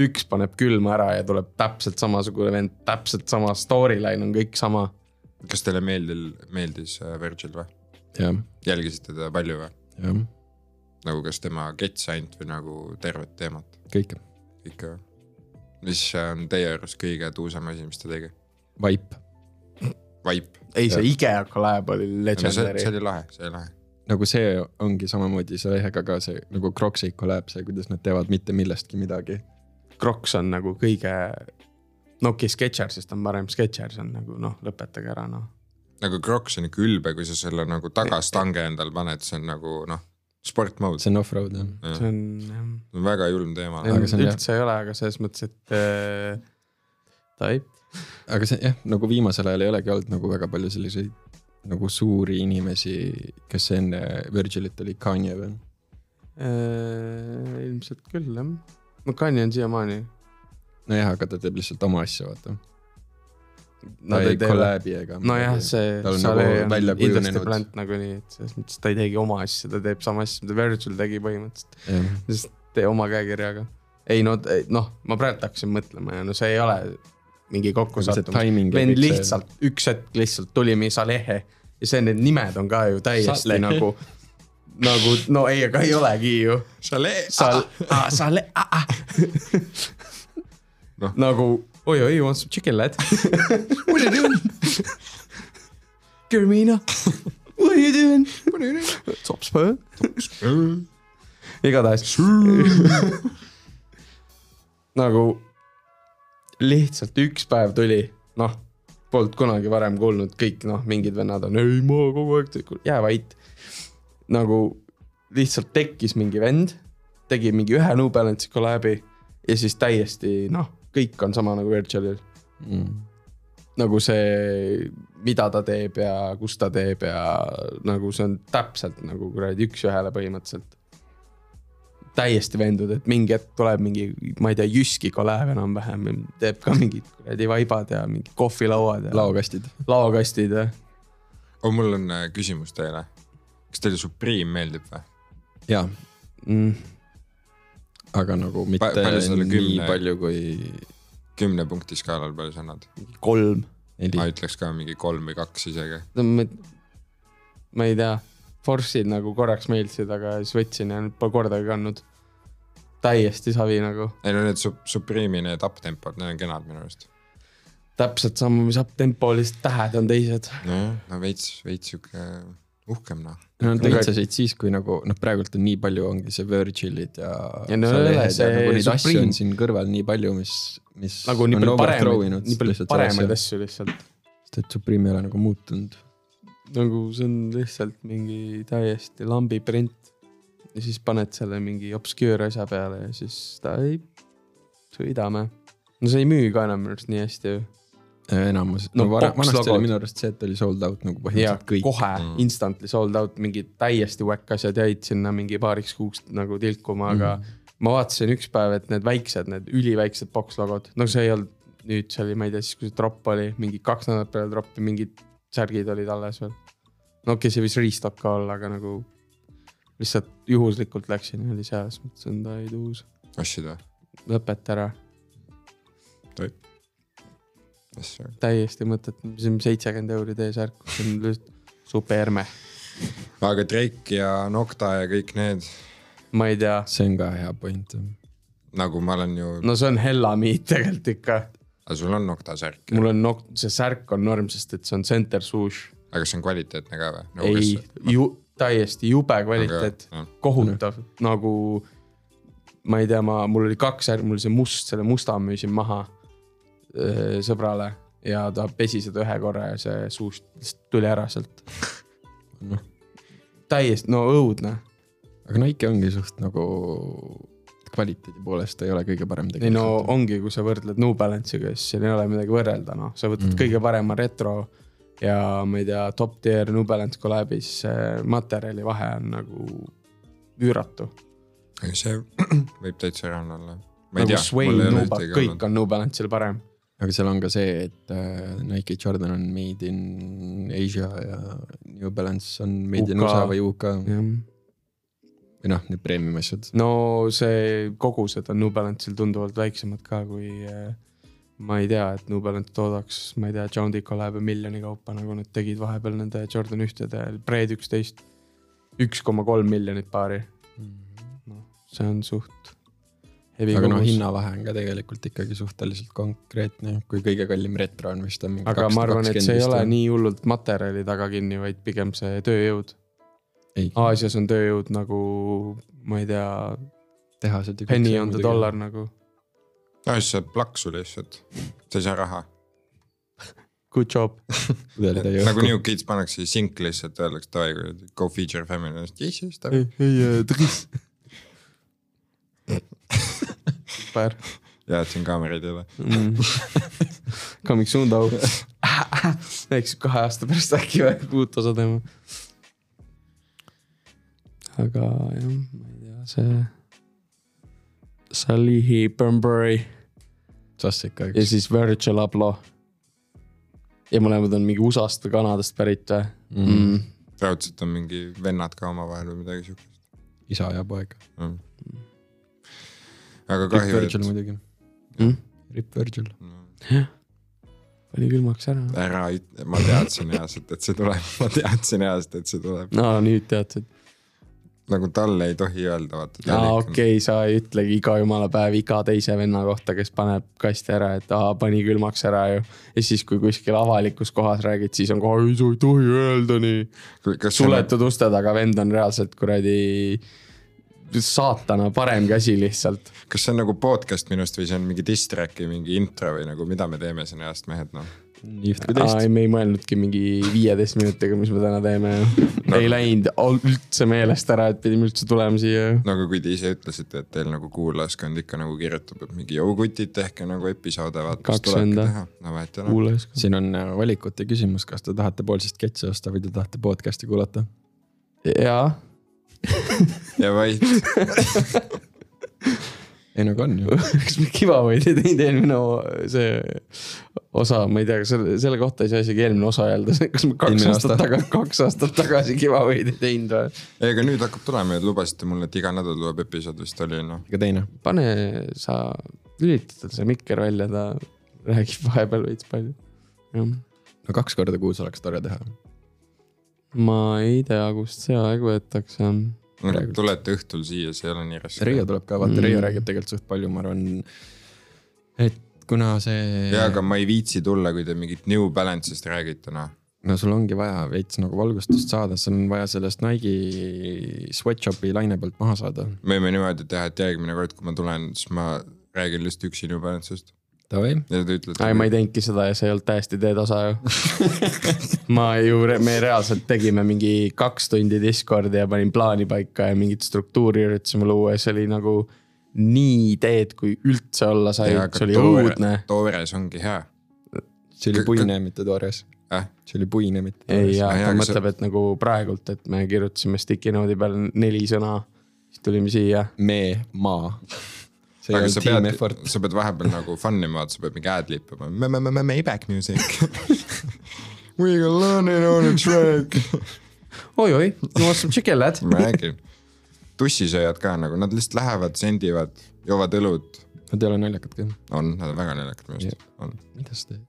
[SPEAKER 3] üks paneb külma ära ja tuleb täpselt samasugune vend , täpselt sama storyline on kõik sama .
[SPEAKER 1] kas teile meeldil , meeldis äh, Virgil või ?
[SPEAKER 2] jah ,
[SPEAKER 1] jälgisite teda palju või ?
[SPEAKER 2] jah ,
[SPEAKER 1] nagu kas tema ketsi ainult või nagu tervet teemat
[SPEAKER 2] kõik .
[SPEAKER 1] ikka ? mis on teie arust kõige tuusam asi , mis ta tegi ?
[SPEAKER 2] Vaip .
[SPEAKER 1] Vaip .
[SPEAKER 3] ei , see IKEA kolläb oli
[SPEAKER 1] see , see
[SPEAKER 3] legendary .
[SPEAKER 1] oli lahe , see oli lahe .
[SPEAKER 2] nagu see ongi samamoodi see lehega ka see nagu Crocsi kolläb, see, kuidas nad teevad mitte millestki midagi.
[SPEAKER 3] Crocs on nagu kõige, no okei okay,, Sketchersist on parem, Sketchers on nagu noh, lõpetage ära noh.
[SPEAKER 1] nagu Crocs on ikka ülbe, kui sa selle nagu tagastange endal paned, see on nagu noh, sport mode.
[SPEAKER 2] see on off-road jah
[SPEAKER 1] ja..
[SPEAKER 3] see on jah.
[SPEAKER 1] see on väga julm teema.
[SPEAKER 2] Aga see on jah.
[SPEAKER 3] üldse ei ole, aga selles mõttes, et äh, taip.
[SPEAKER 2] aga see jah, nagu viimasel ajal ei olegi olnud nagu väga palju selliseid nagu suuri inimesi, kes enne Virgilit oli Kanye või?
[SPEAKER 3] äh, ilmselt küll jah. no Kanye on siiamaani.
[SPEAKER 2] nojah, aga ta teeb lihtsalt oma asja, vaata.
[SPEAKER 3] No,
[SPEAKER 2] ta ei kolläbi ega .
[SPEAKER 3] nojah , see
[SPEAKER 2] Tal on
[SPEAKER 3] Saleh
[SPEAKER 2] nagu
[SPEAKER 3] on
[SPEAKER 2] välja
[SPEAKER 3] industry
[SPEAKER 2] kujunenud.
[SPEAKER 3] plant nagunii , et selles mõttes ta ei teegi oma asja , ta teeb sama asja , mida Virgil tegi põhimõtteliselt ,
[SPEAKER 2] jah ,
[SPEAKER 3] sest tee oma käekirjaga . ei no , noh , ma praegu hakkasin mõtlema ja no see ei ole mingi
[SPEAKER 2] see
[SPEAKER 3] kokkusattumus ,
[SPEAKER 2] timing .
[SPEAKER 3] vend lihtsalt , üks hetk lihtsalt tuli meie Salehe ja see , need nimed on ka ju täiesti
[SPEAKER 2] Salehe.
[SPEAKER 3] Salehe. nagu , nagu no ei , aga ei olegi ju .
[SPEAKER 1] Chalet
[SPEAKER 3] Sal- , Sale- ,
[SPEAKER 1] Noh.
[SPEAKER 3] nagu oi-oi , you want some chicken lad ? What are you doing ? Germina , what are you doing ? Tops põõ . igatahes nagu lihtsalt üks päev tuli , noh , polnud kunagi varem kuulnud , kõik noh , mingid vennad on , ei ma kogu aeg tegin , jää vait . nagu lihtsalt tekkis mingi vend , tegi mingi ühe New Balance'i kolläbi ja siis täiesti noh , kõik on sama nagu Virgilil .
[SPEAKER 2] mm. .
[SPEAKER 3] nagu see , mida ta teeb ja kus ta teeb ja nagu see on täpselt nagu kuradi üks-ühele põhimõtteliselt . täiesti veendunud , et mingi hetk tuleb mingi , ma ei tea , Jyski kolläev enam-vähem , teeb ka mingid kuradi vaibad ja mingid kohvilauad ja
[SPEAKER 2] laokastid .
[SPEAKER 3] laokastid ja .
[SPEAKER 1] oh, . mul on äh, küsimus teile . kas teile Supreme meeldib või ?
[SPEAKER 2] jaa ,
[SPEAKER 3] Mm.
[SPEAKER 2] aga nagu mitte pa,
[SPEAKER 1] palju selle
[SPEAKER 2] nii
[SPEAKER 1] kümne-
[SPEAKER 2] palju kui
[SPEAKER 1] kümne punkti skaalal palju sa annad ?
[SPEAKER 3] kolm ,
[SPEAKER 2] neli
[SPEAKER 1] ma . ütleks ka mingi kolm või kaks isegi .
[SPEAKER 3] ma ei tea , Force'id nagu korraks meeldisid , aga siis võtsin ja nüüd pole kordagi kandnud . täiesti savi nagu
[SPEAKER 1] ei no need Sup- , Supreme'i need uptempod , need on kenad minu arust .
[SPEAKER 3] täpselt sama , mis uptempo , lihtsalt tähed on teised .
[SPEAKER 1] nojah , no veits , veits sihuke uhkem noh .
[SPEAKER 2] no nad
[SPEAKER 3] Aga-
[SPEAKER 2] õitsesid siis , kui nagu noh , praegult on nii palju , ongi see Virgilid ja .
[SPEAKER 3] Ja no ei ole, see
[SPEAKER 2] nagu neid asju
[SPEAKER 3] Supreme-
[SPEAKER 2] on siin kõrval nii palju , mis , mis .
[SPEAKER 3] nagu nii palju paremaid , nii palju paremaid
[SPEAKER 2] asju .
[SPEAKER 3] asju lihtsalt .
[SPEAKER 2] sest et Supreme ei ole nagu muutunud .
[SPEAKER 3] nagu see on lihtsalt mingi täiesti lambi print . ja siis paned selle mingi obscure asja peale ja siis ta ei , sõidame . no see ei müü ka enam minu arust nii hästi ju .
[SPEAKER 2] enamus ,
[SPEAKER 3] No
[SPEAKER 2] no varem ,
[SPEAKER 3] box
[SPEAKER 2] vanasti
[SPEAKER 3] logod.
[SPEAKER 2] oli minu arust see , et oli sold out nagu
[SPEAKER 3] ja
[SPEAKER 2] põhimõtteliselt kõik .
[SPEAKER 3] kohe
[SPEAKER 1] Mm.
[SPEAKER 3] mm. instantly sold out , mingid täiesti whack asjad jäid sinna mingi paariks kuuks nagu tilkuma , aga
[SPEAKER 2] Mhm.
[SPEAKER 3] mm. ma vaatasin üks päev , et need väiksed , need üliväiksed box logod , no see ei olnud nüüd , see oli , ma ei tea siis , kui see drop oli , mingi kaks nädalat peale drop'i mingid särgid olid alles veel . no okei okay, , see võis restock ka olla , aga nagu lihtsalt juhuslikult läksin ja oli seal , siis mõtlesin , et ei tuus ,
[SPEAKER 1] ostsid või ?
[SPEAKER 3] lõpeta ära ,
[SPEAKER 1] asju .
[SPEAKER 3] täiesti mõttetu , see on seitsekümmend euri T-särk , see on lihtsalt superme ,
[SPEAKER 1] aga Drake ja Nocta ja kõik need ,
[SPEAKER 3] ma ei tea
[SPEAKER 2] see on ka hea point .
[SPEAKER 1] nagu ma olen ju no. ,
[SPEAKER 3] no see on hella miit tegelikult ikka ,
[SPEAKER 1] sul on Nocta särk ,
[SPEAKER 3] mul on nok- , see särk on norm , sest et see on center swoosh .
[SPEAKER 1] aga kas see on kvaliteetne ka või nagu,
[SPEAKER 3] ei , ju- , täiesti jube kvaliteet , kohutav nagu . ma ei tea , ma , mul oli kaks särk , mul oli see must , selle musta ma müüsin maha öö, sõbrale ja ta pesi seda ühe korra ja see suust lihtsalt tuli ära sealt .
[SPEAKER 2] noh ,
[SPEAKER 3] täiesti , no õudne ,
[SPEAKER 2] aga Nike ongi suht nagu kvaliteedi poolest ei ole kõige parem
[SPEAKER 3] ei no . ongi , kui sa võrdled New Balance'iga , siis siin ei ole midagi võrrelda , noh , sa
[SPEAKER 1] Mhm.
[SPEAKER 3] võtad mm. kõige parema retro ja ma ei tea , top tier New Balance kolläbis , see materjali vahe on nagu üüratu .
[SPEAKER 1] ei see võib täitsa reaalne olla . ma ei
[SPEAKER 3] nagu
[SPEAKER 1] tea , mul
[SPEAKER 3] Sway ,
[SPEAKER 1] ei ole
[SPEAKER 3] Nuba ,
[SPEAKER 1] ühtegi
[SPEAKER 3] kõik
[SPEAKER 1] olnud .
[SPEAKER 3] on New Balance'il parem .
[SPEAKER 2] aga seal on ka see , et äh, Nike Jordan on made in Asia ja New Balance on made UK. in
[SPEAKER 3] UK.
[SPEAKER 2] USA või UK
[SPEAKER 1] Mhm.
[SPEAKER 3] jah ,
[SPEAKER 2] või noh , need premium asjad .
[SPEAKER 3] no see kogused on New Balance'il tunduvalt väiksemad ka , kui eh, ma ei tea , et New Balance toodaks , ma ei tea , John Deere kolläbi miljoni kaupa , nagu nad tegid vahepeal nende Jordan ühtede Breed üksteist , üks koma kolm miljonit paari noh , see on suht heavy
[SPEAKER 2] aga noh ,
[SPEAKER 3] kogus.
[SPEAKER 2] hinnavahe on ka tegelikult ikkagi suhteliselt konkreetne , kui kõige kallim retro on vist on mingi
[SPEAKER 3] aga ma arvan , et see ei ole
[SPEAKER 2] või-
[SPEAKER 3] nii hullult materjali taga kinni , vaid pigem see tööjõud . Aasias on tööjõud nagu , ma ei tea ,
[SPEAKER 2] tehased .
[SPEAKER 3] penny on the . dollar nagu ,
[SPEAKER 1] no siis see plaksu lihtsalt , sa ei saa raha .
[SPEAKER 3] good job .
[SPEAKER 2] pudelitäie
[SPEAKER 1] nagu
[SPEAKER 2] õhku .
[SPEAKER 1] New Kids pannakse sink lihtsalt , öeldakse davai , go feature family , yes yes davai .
[SPEAKER 3] ei , ei , äh, tris . super
[SPEAKER 1] ja et siin kaameraid ei ole .
[SPEAKER 3] mm. . Coming soon though . eks kahe aasta pärast äkki veel uut osa teeme . aga jah , ma ei tea , see . Salihi Burnbury
[SPEAKER 2] sass ikka ,
[SPEAKER 3] ja
[SPEAKER 2] eks .
[SPEAKER 3] siis Virgil Abloh . ja mõlemad on mingi USA-st või Kanadast pärit või mm. ?
[SPEAKER 1] raudselt on mingi vennad ka omavahel või midagi siukest
[SPEAKER 2] isa ja poeg .
[SPEAKER 1] mm. . aga
[SPEAKER 2] Rip
[SPEAKER 1] kahju , et
[SPEAKER 2] Virgil
[SPEAKER 1] Mm.
[SPEAKER 2] muidugi .
[SPEAKER 3] Mm?
[SPEAKER 2] Rip Virgil .
[SPEAKER 3] oli külmaks ära .
[SPEAKER 1] ära , ma teadsin reaalselt , et see tuleb , ma teadsin reaalselt , et see tuleb .
[SPEAKER 3] no nüüd teadsid .
[SPEAKER 1] nagu talle ei tohi öelda , vaata .
[SPEAKER 3] aa okei okay, , sa ei ütlegi iga jumala päev iga teise venna kohta , kes paneb kasti ära , et aa , pani külmaks ära ju . ja siis , kui kuskil avalikus kohas räägid , siis on kohe , ei sa ei tohi öelda nii .
[SPEAKER 1] okay. .
[SPEAKER 3] suletud uste taga vend on reaalselt kuradi saatana parem käsi lihtsalt .
[SPEAKER 1] kas see on nagu podcast minust või see on mingi diss track'i mingi intro või nagu mida me teeme siin heast mehed noh .
[SPEAKER 2] nii üht kui
[SPEAKER 3] aa ,
[SPEAKER 2] teist .
[SPEAKER 3] ei me ei mõelnudki mingi viieteist minutiga , mis me täna teeme ju . ei läinud al- üldse meelest ära , et pidime üldse tulema siia ju .
[SPEAKER 1] no aga Nagu kui te ise ütlesite , et teil nagu kuulajaskond ikka nagu kirjutab , et mingi jõu kutid , tehke nagu episoode , vaata mis
[SPEAKER 3] Kaks
[SPEAKER 1] tulebki
[SPEAKER 3] venda.
[SPEAKER 1] teha . no vaata noh ,
[SPEAKER 3] kuulajas .
[SPEAKER 2] siin on äh, valikute küsimus , kas te tahate poolsist ketši osta või te tahate podcast'i kuulata .
[SPEAKER 3] jaa ,
[SPEAKER 1] ja vaid
[SPEAKER 2] ei no aga on ju .
[SPEAKER 3] kas me giveaway'd ei teinud eelmine o- see osa , ma ei tea , kas selle , selle kohta ei saa isegi eelmine osa öelda , kas me kaks
[SPEAKER 2] Eelmine
[SPEAKER 3] aastat
[SPEAKER 2] aasta.
[SPEAKER 3] taga- , kaks aastat tagasi giveaway'd ei teinud või ?
[SPEAKER 1] ei aga nüüd hakkab tulema ja te lubasite mulle , et iga nädal tuleb episood vist oli noh .
[SPEAKER 2] ega teine .
[SPEAKER 3] pane sa , lülita tal see mikker välja , ta räägib vahepeal veits palju . jah ,
[SPEAKER 2] no kaks korda kuus oleks tore teha .
[SPEAKER 3] ma ei tea , kust see aeg võetakse .
[SPEAKER 1] Noh,
[SPEAKER 2] Praegult.
[SPEAKER 1] tulete õhtul siia , see ei ole nii raske .
[SPEAKER 2] Reio tuleb ka , vaata
[SPEAKER 3] Mm.
[SPEAKER 2] mm. Reio räägib tegelikult suht palju , ma arvan . et kuna see .
[SPEAKER 1] ja aga ma ei viitsi tulla , kui te mingit New Balance'ist räägite noh .
[SPEAKER 2] no sul ongi vaja veits nagu valgustust saada , sul on vaja sellest Nike'i sweatshopi laine pealt maha saada .
[SPEAKER 1] me võime niimoodi teha , et järgmine kord , kui ma tulen , siis ma räägin lihtsalt üksi New Balance'ist
[SPEAKER 2] Davai .
[SPEAKER 1] ja te ütlete .
[SPEAKER 3] ei , ma ei teinudki seda ja see ei olnud täiesti teed osa ju . ma ju , me reaalselt tegime mingi kaks tundi Discordi ja panin plaani paika ja mingit struktuuri üritasime luua ja see oli nagu nii teed , kui üldse olla sai , see oli õudne .
[SPEAKER 1] toores ongi hea
[SPEAKER 2] see oli
[SPEAKER 1] K-
[SPEAKER 2] puine , mitte toores
[SPEAKER 1] Äh? .
[SPEAKER 2] see oli puine , mitte
[SPEAKER 3] ei ,
[SPEAKER 2] toores .
[SPEAKER 3] ja
[SPEAKER 1] Jaa,
[SPEAKER 3] ta
[SPEAKER 1] aga
[SPEAKER 3] mõtleb , et nagu praegult , et me kirjutasime sticky node'i peale neli sõna , siis tulime siia .
[SPEAKER 2] me , maa . see ei
[SPEAKER 1] aga sa
[SPEAKER 2] olnud team
[SPEAKER 1] pead
[SPEAKER 2] effort ,,
[SPEAKER 1] sa pead vahepeal nagu fun ima , et sa pead mingi ad lippima , me , me , me , me , me back music . We are learning on a track .
[SPEAKER 3] oi-oi , you want some chicken lad ?
[SPEAKER 1] ma räägin , tussisööjad ka nagu , nad lihtsalt lähevad , sendivad , joovad õlut ,
[SPEAKER 2] nad ei ole naljakad ka .
[SPEAKER 1] on , nad on väga naljakad minu arust , on .
[SPEAKER 2] mida sa teed ?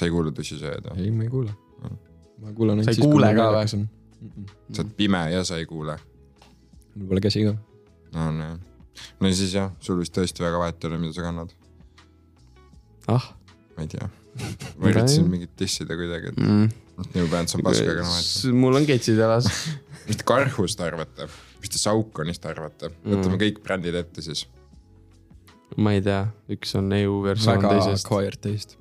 [SPEAKER 1] sa ei kuula tussisööjad või ?
[SPEAKER 2] ei , ma ei kuule
[SPEAKER 1] Mm. .
[SPEAKER 2] ma kuulan
[SPEAKER 3] Sa ei kuule ka või?
[SPEAKER 2] või ?
[SPEAKER 1] sa oled pime ja sa ei kuule .
[SPEAKER 2] mul pole käsi ka .
[SPEAKER 1] no nojah , no siis jah , sul vist tõesti väga vahet ei ole , mida sa kannad ,
[SPEAKER 3] ah
[SPEAKER 1] ma ei tea . ma üritasin mingit dissida kuidagi ,
[SPEAKER 3] mm. .
[SPEAKER 1] et New Balance on pask , aga noh , et .
[SPEAKER 3] mul on ketsid jalas .
[SPEAKER 1] mis te karhust arvate , mis te saukonist arvate , võtame
[SPEAKER 3] Mm.
[SPEAKER 1] kõik brändid ette siis .
[SPEAKER 3] ma ei tea , üks on EU versioon
[SPEAKER 2] väga
[SPEAKER 3] teisest .
[SPEAKER 2] acquired taste .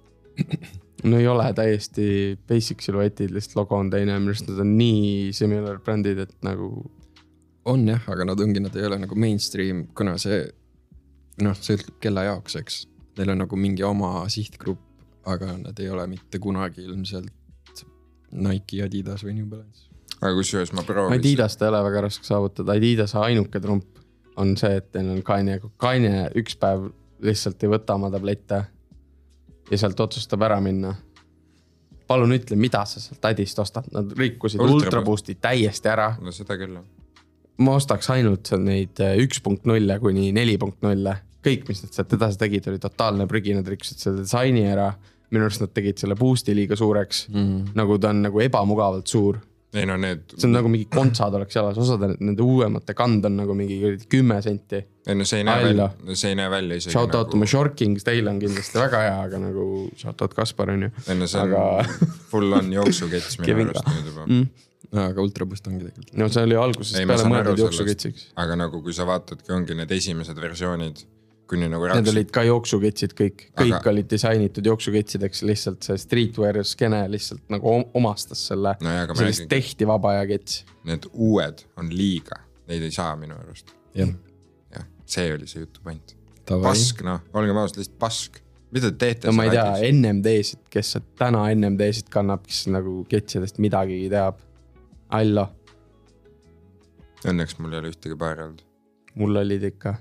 [SPEAKER 3] no ei ole täiesti basic siluetid , lihtsalt logo on teine , minu arust nad on nii similar brändid , et nagu
[SPEAKER 2] on jah , aga nad ongi , nad ei ole nagu mainstream , kuna see noh , see ütleb kelle jaoks , eks . Neil on nagu mingi oma sihtgrupp , aga nad ei ole mitte kunagi ilmselt Nike , Adidas või New Balance .
[SPEAKER 1] aga kusjuures ma proovisin ,
[SPEAKER 3] Adidast ei ole väga raske saavutada , Adidase ainuke trump on see , et neil on Kanye , Kanye üks päev lihtsalt ei võta oma tablette ja sealt otsustab ära minna palun ütle , mida sa sealt Adist ostad , nad rikkusid
[SPEAKER 1] Ultra-
[SPEAKER 3] Ultra Boosti täiesti ära .
[SPEAKER 1] no seda küll .
[SPEAKER 3] ma ostaks ainult seal neid äh, üks punkt nulle kuni neli punkt nulle . kõik , mis nad sealt edasi tegid , oli totaalne prügi , nad rikkusid selle disaini ära . minu arust nad tegid selle boost'i liiga suureks
[SPEAKER 1] Mhm.
[SPEAKER 3] mm. , nagu ta on nagu ebamugavalt suur .
[SPEAKER 1] ei no need ,
[SPEAKER 3] see on nagu mingi kontsad oleks jalas , osade nende uuemate kand on nagu mingi kuradi kümme senti .
[SPEAKER 1] ei no see ei näe
[SPEAKER 3] Alla.
[SPEAKER 1] välja , see ei näe välja isegi
[SPEAKER 3] Shout out to my
[SPEAKER 1] nagu ,
[SPEAKER 3] shorking , teil on kindlasti väga hea , aga nagu shout out Kaspar on ju .
[SPEAKER 1] ei no see on
[SPEAKER 3] aga-
[SPEAKER 1] full on jooksukets minu
[SPEAKER 3] Kevinga.
[SPEAKER 1] arust nüüd juba .
[SPEAKER 3] mm.
[SPEAKER 2] aga ultraboost ongi tegelikult .
[SPEAKER 3] no see oli algusest
[SPEAKER 1] Ei, ma
[SPEAKER 3] peale
[SPEAKER 1] saan
[SPEAKER 3] mõeldud
[SPEAKER 1] aru sellest.
[SPEAKER 3] jooksuketsiks .
[SPEAKER 1] aga nagu kui sa vaatadki , ongi need esimesed versioonid , kuni nagu
[SPEAKER 3] Need
[SPEAKER 1] raks-
[SPEAKER 3] olid ka jooksuketsid kõik , kõik
[SPEAKER 1] Aga-
[SPEAKER 3] aga... olid disainitud jooksuketsideks , lihtsalt see streetwear skeene lihtsalt nagu om- omastas selle no, .
[SPEAKER 1] nojah , aga ma
[SPEAKER 3] sellest
[SPEAKER 1] räägin ,
[SPEAKER 3] tehti vaba aja kets .
[SPEAKER 1] need uued on liiga , neid ei saa minu arust ,
[SPEAKER 2] jah ,
[SPEAKER 1] jah , see oli see jutu point .
[SPEAKER 2] davai .
[SPEAKER 1] pask noh , olgem ausad , lihtsalt pask , mida te teete
[SPEAKER 3] no ma ei tea ,? NMD-sid , kes täna NMD-sid kannab , kes nagu ketsidest midagi teab . Allo ,
[SPEAKER 1] Õnneks mul ei ole ühtegi paari olnud ,
[SPEAKER 3] mul olid ikka .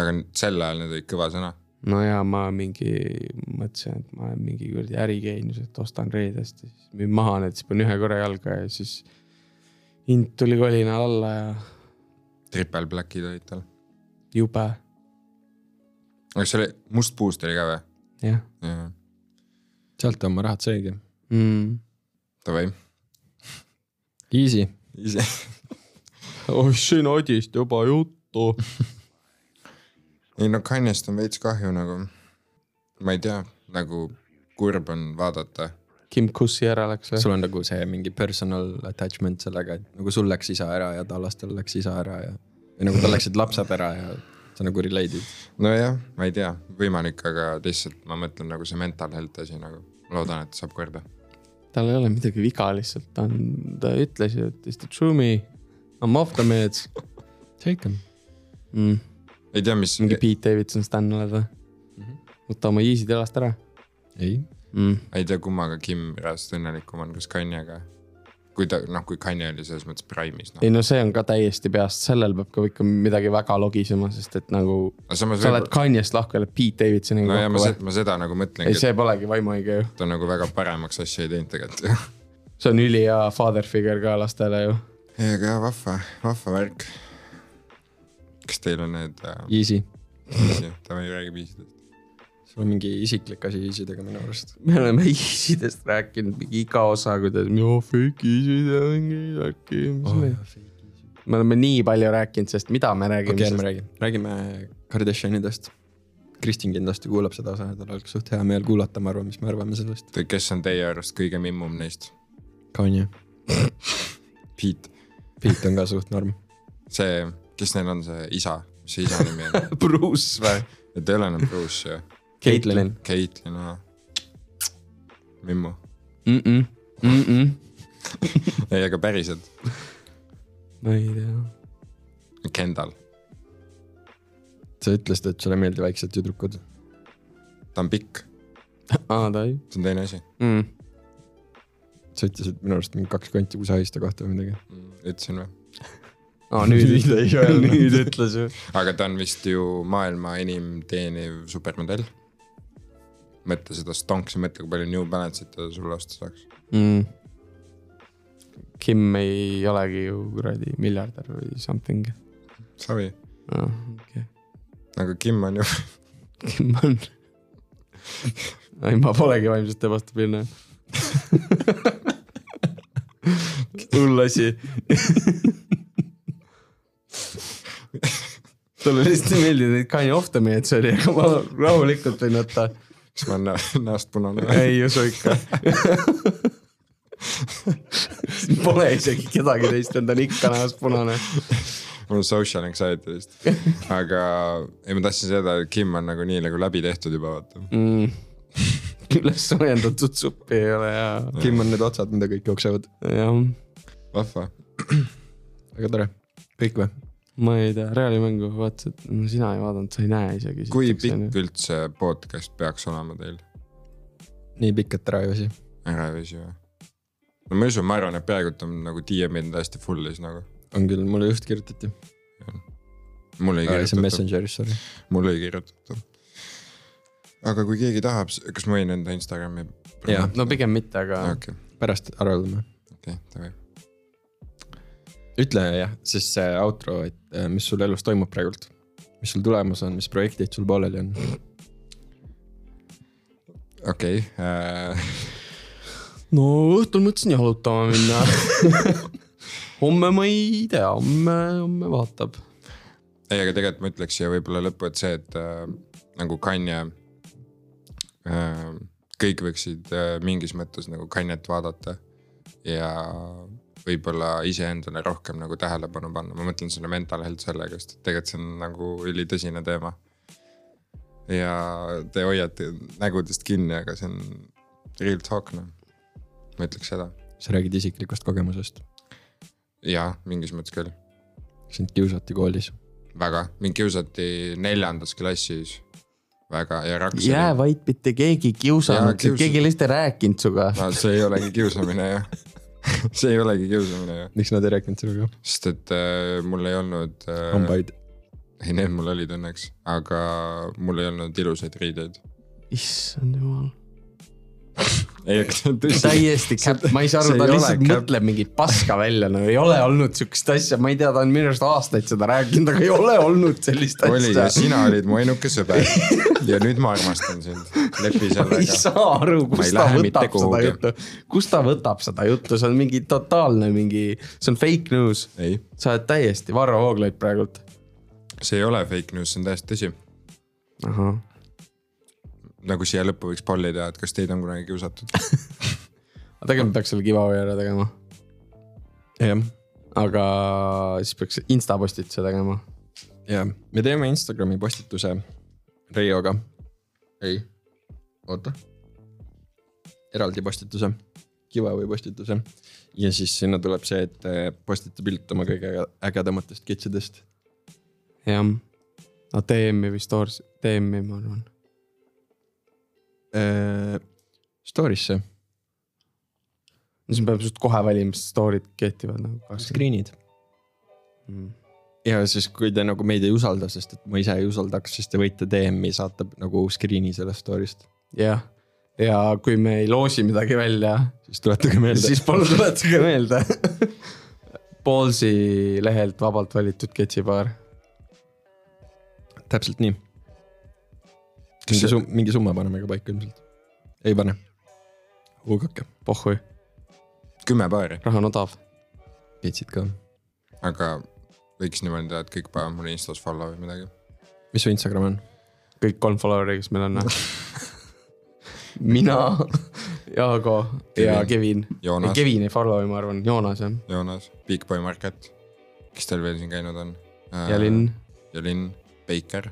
[SPEAKER 1] aga n- sel ajal need olid kõva sõna ,
[SPEAKER 3] no ja ma mingi mõtlesin , et ma olen mingi kuradi ärikeenius , et ostan reedest ja siis müün maha need , siis panen ühe korra jalga ja siis hind tuli kolinal alla ja
[SPEAKER 1] triple black'id olid tal .
[SPEAKER 3] jube ,
[SPEAKER 1] aga see oli , must puust oli ka või ?
[SPEAKER 3] jah
[SPEAKER 1] jah ,
[SPEAKER 2] sealt on mu rahad seegi .
[SPEAKER 3] mm. .
[SPEAKER 1] davai .
[SPEAKER 2] Easy .
[SPEAKER 1] ise .
[SPEAKER 3] oh , siin Adist juba juttu .
[SPEAKER 1] ei no Kanjast on veits kahju nagu , ma ei tea , nagu kurb on vaadata .
[SPEAKER 3] Kim Kussi ära läks või ?
[SPEAKER 2] sul on nagu see mingi personal attachment sellega , et nagu sul läks isa ära ja Tallastel läks isa ära ja . või nagu tal läksid lapsed ära ja sa nagu relate'id .
[SPEAKER 1] nojah , ma ei tea , võimalik , aga lihtsalt ma mõtlen nagu see mental health asi nagu , ma loodan , et saab korda .
[SPEAKER 3] tal ei ole midagi viga lihtsalt , ta on , ta ütles ju , et is the true me , I m off the meds
[SPEAKER 2] Take them .
[SPEAKER 3] mm. .
[SPEAKER 1] ei tea , mis
[SPEAKER 3] mingi , Pete Davidson Stan oled või ? võta oma Yeezid jalast ära
[SPEAKER 2] ei ,
[SPEAKER 3] mm. .
[SPEAKER 1] ei tea , kummaga Kim reaalselt õnnelikum on , kas Kanjaga . kui ta , noh , kui Kanja oli selles mõttes prime'is , noh .
[SPEAKER 3] ei no see on ka täiesti peast , sellel peab ka ikka midagi väga logisema , sest et nagu
[SPEAKER 1] aga samas
[SPEAKER 3] sa oled
[SPEAKER 1] võib-olla ,
[SPEAKER 3] Kanye'st lahku , oled Pete Davidsoniga
[SPEAKER 1] nojah ,
[SPEAKER 3] kokku
[SPEAKER 1] ma
[SPEAKER 3] või ?
[SPEAKER 1] seda , ma seda nagu mõtlengi
[SPEAKER 3] ei ,, see polegi vaimuõige ju ,
[SPEAKER 1] et ta nagu väga paremaks asja ei teinud tegelikult .
[SPEAKER 3] see on ülihea father figure ka lastele ju .
[SPEAKER 1] ei , aga jah , vahva , vahva värk . kas teil on need äh,
[SPEAKER 2] easy .
[SPEAKER 1] viisi , davai , räägi viisidest .
[SPEAKER 2] sul on mingi isiklik asi easy dega minu arust .
[SPEAKER 3] me oleme Yeezidest rääkinud mingi iga osa , kuidas no fake Yeezid ja mingi värki , mis me .
[SPEAKER 2] okei ,
[SPEAKER 3] me oleme nii palju rääkinud sellest , mida me räägime okay, ,
[SPEAKER 2] ärme
[SPEAKER 3] sest
[SPEAKER 2] räägi , räägime Kardashianidest . Kristin kindlasti kuulab seda osa , tal oleks suht hea meel kuulata , ma arvan , mis me arvame sellest .
[SPEAKER 1] kes on teie arust kõige mimmum neist ?
[SPEAKER 2] Kanye ,
[SPEAKER 1] Pete ,
[SPEAKER 2] Pete on ka suht norm .
[SPEAKER 1] see , kes neil on see isa , mis see isa nimi on ?
[SPEAKER 3] Bruce või ?
[SPEAKER 1] et ei ole enam Bruce ju ,
[SPEAKER 3] Caitlyn
[SPEAKER 2] Caitlyn. .
[SPEAKER 1] Caitlyn , jah . mimmu , ei aga päriselt ,
[SPEAKER 3] ma ei tea .
[SPEAKER 1] Kendall ,
[SPEAKER 2] sa ütlesid , et sulle ei meeldi väiksed tüdrukud .
[SPEAKER 1] ta on pikk ,
[SPEAKER 3] aa , Ah, ta ei
[SPEAKER 1] see on teine asi .
[SPEAKER 3] mm. .
[SPEAKER 2] sa ütlesid minu arust mingi kaks kanti kusagist kohta või midagi .
[SPEAKER 1] ütlesin või ?
[SPEAKER 3] aa , Ah, nüüd
[SPEAKER 2] Nüüd ei öelnud.
[SPEAKER 3] nüüd ütles ju .
[SPEAKER 1] aga ta on vist ju maailma enim teeniv supermodell . mõtle seda stonksi , mõtle kui palju New Balance'it ta sulle osta saaks .
[SPEAKER 3] mm. . Kim ei olegi ju kuradi miljardär või something .
[SPEAKER 1] savi ,
[SPEAKER 3] aa , okei okay. .
[SPEAKER 1] aga Kim on ju ,
[SPEAKER 3] Kim on . ei , ma polegi vaimselt ebastabiilne . hull asi . talle lihtsalt ei meeldi neid Kanye off the mehed , see oli , aga ma rahulikult võin võtta .
[SPEAKER 1] kas ma olen nä- näost punane või ?
[SPEAKER 3] ei usu ikka . Pole isegi kedagi teist , ta on ikka näost punane .
[SPEAKER 1] mul on social anxiety vist , aga ei , ma tahtsin seda , et Kim on nagu nii nagu läbi tehtud juba vaata .
[SPEAKER 3] Mm. üles soojendatud suppi ei ole ja ,
[SPEAKER 2] Kim on need otsad , mida kõik jooksevad .
[SPEAKER 3] jah ,
[SPEAKER 1] vahva ,
[SPEAKER 2] väga tore . kõik või ?
[SPEAKER 3] ma ei tea , reaalimängu vaatasid , no sina ei vaadanud , sa ei näe isegi .
[SPEAKER 1] kui pikk üldse podcast peaks olema teil ,
[SPEAKER 2] nii pikk , et ära ei väsi .
[SPEAKER 1] Äravesi või ? no ma ei usu , ma arvan , et peaaegu et on nagu DM-id on täiesti full'is nagu ,
[SPEAKER 2] on küll , mulle just kirjutati .
[SPEAKER 1] mulle ei
[SPEAKER 2] see on
[SPEAKER 1] kirjutata .
[SPEAKER 2] Messengeris , sorry .
[SPEAKER 1] mulle ei kirjutata . aga kui keegi tahab , kas ma võin enda Instagrami ?
[SPEAKER 2] Jaa.
[SPEAKER 3] no pigem mitte , aga okay.
[SPEAKER 1] okei ,
[SPEAKER 2] pärast arveldame .
[SPEAKER 1] okei , davai .
[SPEAKER 2] ütle jah , siis see outro , et äh, mis sul elus toimub praegult . mis sul tulemas on , mis projektid sul pooleli on ?
[SPEAKER 1] okei äh, ,
[SPEAKER 3] no õhtul mõtlesin jalutama minna . homme ma ei tea , homme , homme vaatab .
[SPEAKER 1] ei , aga tegelikult ma ütleks siia võib-olla lõppu , et see , et äh, nagu Kanye äh, . kõik võiksid äh, mingis mõttes nagu Kanye't vaadata ja võib-olla iseendale rohkem nagu tähelepanu panna, ma mõtlen selle mental health sellega, sest tegelikult see on nagu ülitõsine teema. ja te hoiate nägudest kinni, aga see on real talk noh, ma ütleks seda.
[SPEAKER 2] sa räägid isiklikust kogemusest?
[SPEAKER 1] jah, mingis mõttes küll.
[SPEAKER 2] sind kiusati koolis?
[SPEAKER 1] väga, mind kiusati neljandas klassis väga ja Rakvere.
[SPEAKER 3] jää vait, mitte keegi ei kiusanud kius... sind, keegi lihtsalt ei rääkinud sinuga
[SPEAKER 1] no,. see ei olegi kiusamine jah see ei olegi kiusamine jah.
[SPEAKER 2] miks nad ei rääkinud sinuga?
[SPEAKER 1] sest et äh, mul ei olnud äh,.
[SPEAKER 2] hambaid.
[SPEAKER 1] ei, need mul olid õnneks, aga mul ei olnud ilusaid riideid.
[SPEAKER 3] issand jumal
[SPEAKER 1] ei, aga see on tõsi.
[SPEAKER 3] täiesti käpp, ma ei saa aru, ta lihtsalt mõtleb mingit paska välja, no ei ole olnud sihukest asja, ma ei tea, ta on minu arust aastaid seda rääkinud, aga ei ole olnud sellist
[SPEAKER 1] oli
[SPEAKER 3] asja.
[SPEAKER 1] ja sina olid mu ainuke sõber ja nüüd ma armastan sind, lepi
[SPEAKER 3] ma ei
[SPEAKER 1] sellega.
[SPEAKER 3] saa aru ,
[SPEAKER 1] Ma ei
[SPEAKER 3] kust ta
[SPEAKER 1] lähe mitte
[SPEAKER 3] võtab seda
[SPEAKER 1] kuhugi.
[SPEAKER 3] juttu, kust ta võtab seda juttu , see on mingi totaalne mingi , see on fake news .
[SPEAKER 1] ei ,
[SPEAKER 3] sa oled täiesti Varro Vooglaid praegult .
[SPEAKER 1] see ei ole fake news , see on täiesti tõsi
[SPEAKER 3] ahah ,
[SPEAKER 1] nagu siia lõppu võiks pallida , et kas teid on kunagi kiusatud ?
[SPEAKER 3] aga tegelikult peaks selle giveaway ära tegema ,
[SPEAKER 2] jah ,
[SPEAKER 3] aga siis peaks instapostituse tegema .
[SPEAKER 2] jah , me teeme Instagrami postituse Reioga . ei , oota . eraldi postituse , giveaway postituse ja siis sinna tuleb see , et eh, postita pilt oma kõige ägedamatest kitsidest .
[SPEAKER 3] jah , no TM-i või Stores , TM-i ma arvan ,
[SPEAKER 2] äh, Story'sse ,
[SPEAKER 3] no siis peab just kohe valima , sest store'id kehtivad nagu Mm. kakskümmend .
[SPEAKER 2] screen'id ja siis , kui te nagu meid ei usalda , sest et ma ise ei usaldaks , siis te võite DM-i saata nagu screen'i sellest story'st .
[SPEAKER 3] jah , ja kui me ei loosi midagi välja ,
[SPEAKER 2] siis tuletage meelde
[SPEAKER 3] siis
[SPEAKER 2] siis... .
[SPEAKER 3] palun tuletage meelde . Ballsi lehelt vabalt valitud ketsipaar ,
[SPEAKER 2] täpselt nii .
[SPEAKER 1] Kas
[SPEAKER 2] mingi
[SPEAKER 1] see-
[SPEAKER 2] summa , mingi summa paneme ka paika ilmselt . ei pane . hulgake ,
[SPEAKER 3] pohhui ,
[SPEAKER 1] kümme paari ,
[SPEAKER 3] raha on odav .
[SPEAKER 2] pitsid ka .
[SPEAKER 1] aga võiks niimoodi teha , et kõik panevad mulle Instas follow või midagi .
[SPEAKER 2] mis su Instagram on ?
[SPEAKER 3] kõik kolm follower'i , kes meil on . noh. mina , Jaago ja Kevin .
[SPEAKER 1] Joonas ,
[SPEAKER 3] Kevin ei follow'i , ma arvan , Joonas jah ,
[SPEAKER 1] Joonas , Big Boy Market , kes teil veel siin käinud on ?
[SPEAKER 3] ja Linn .
[SPEAKER 1] ja Linn , Baker .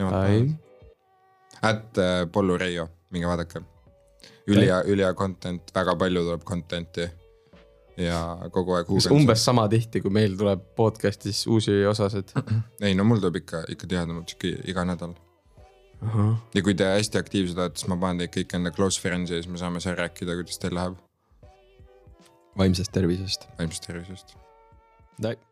[SPEAKER 3] Ai. .
[SPEAKER 1] At äh, Pollu Reio , minge vaadake . ülihea , ülihea content , väga palju tuleb content'i ja kogu aeg
[SPEAKER 3] kas . umbes sama tihti , kui meil tuleb podcast'is uusi osasid ?
[SPEAKER 1] ei no mul tuleb ikka , ikka tihedamalt sihuke iga nädal .
[SPEAKER 3] ahah ,
[SPEAKER 1] ja kui te hästi aktiivsed olete , siis ma panen teid kõik enda close friends'i ja siis me saame seal rääkida , kuidas teil läheb
[SPEAKER 2] vaimsest tervisest .
[SPEAKER 1] vaimsest tervisest .
[SPEAKER 2] Bye .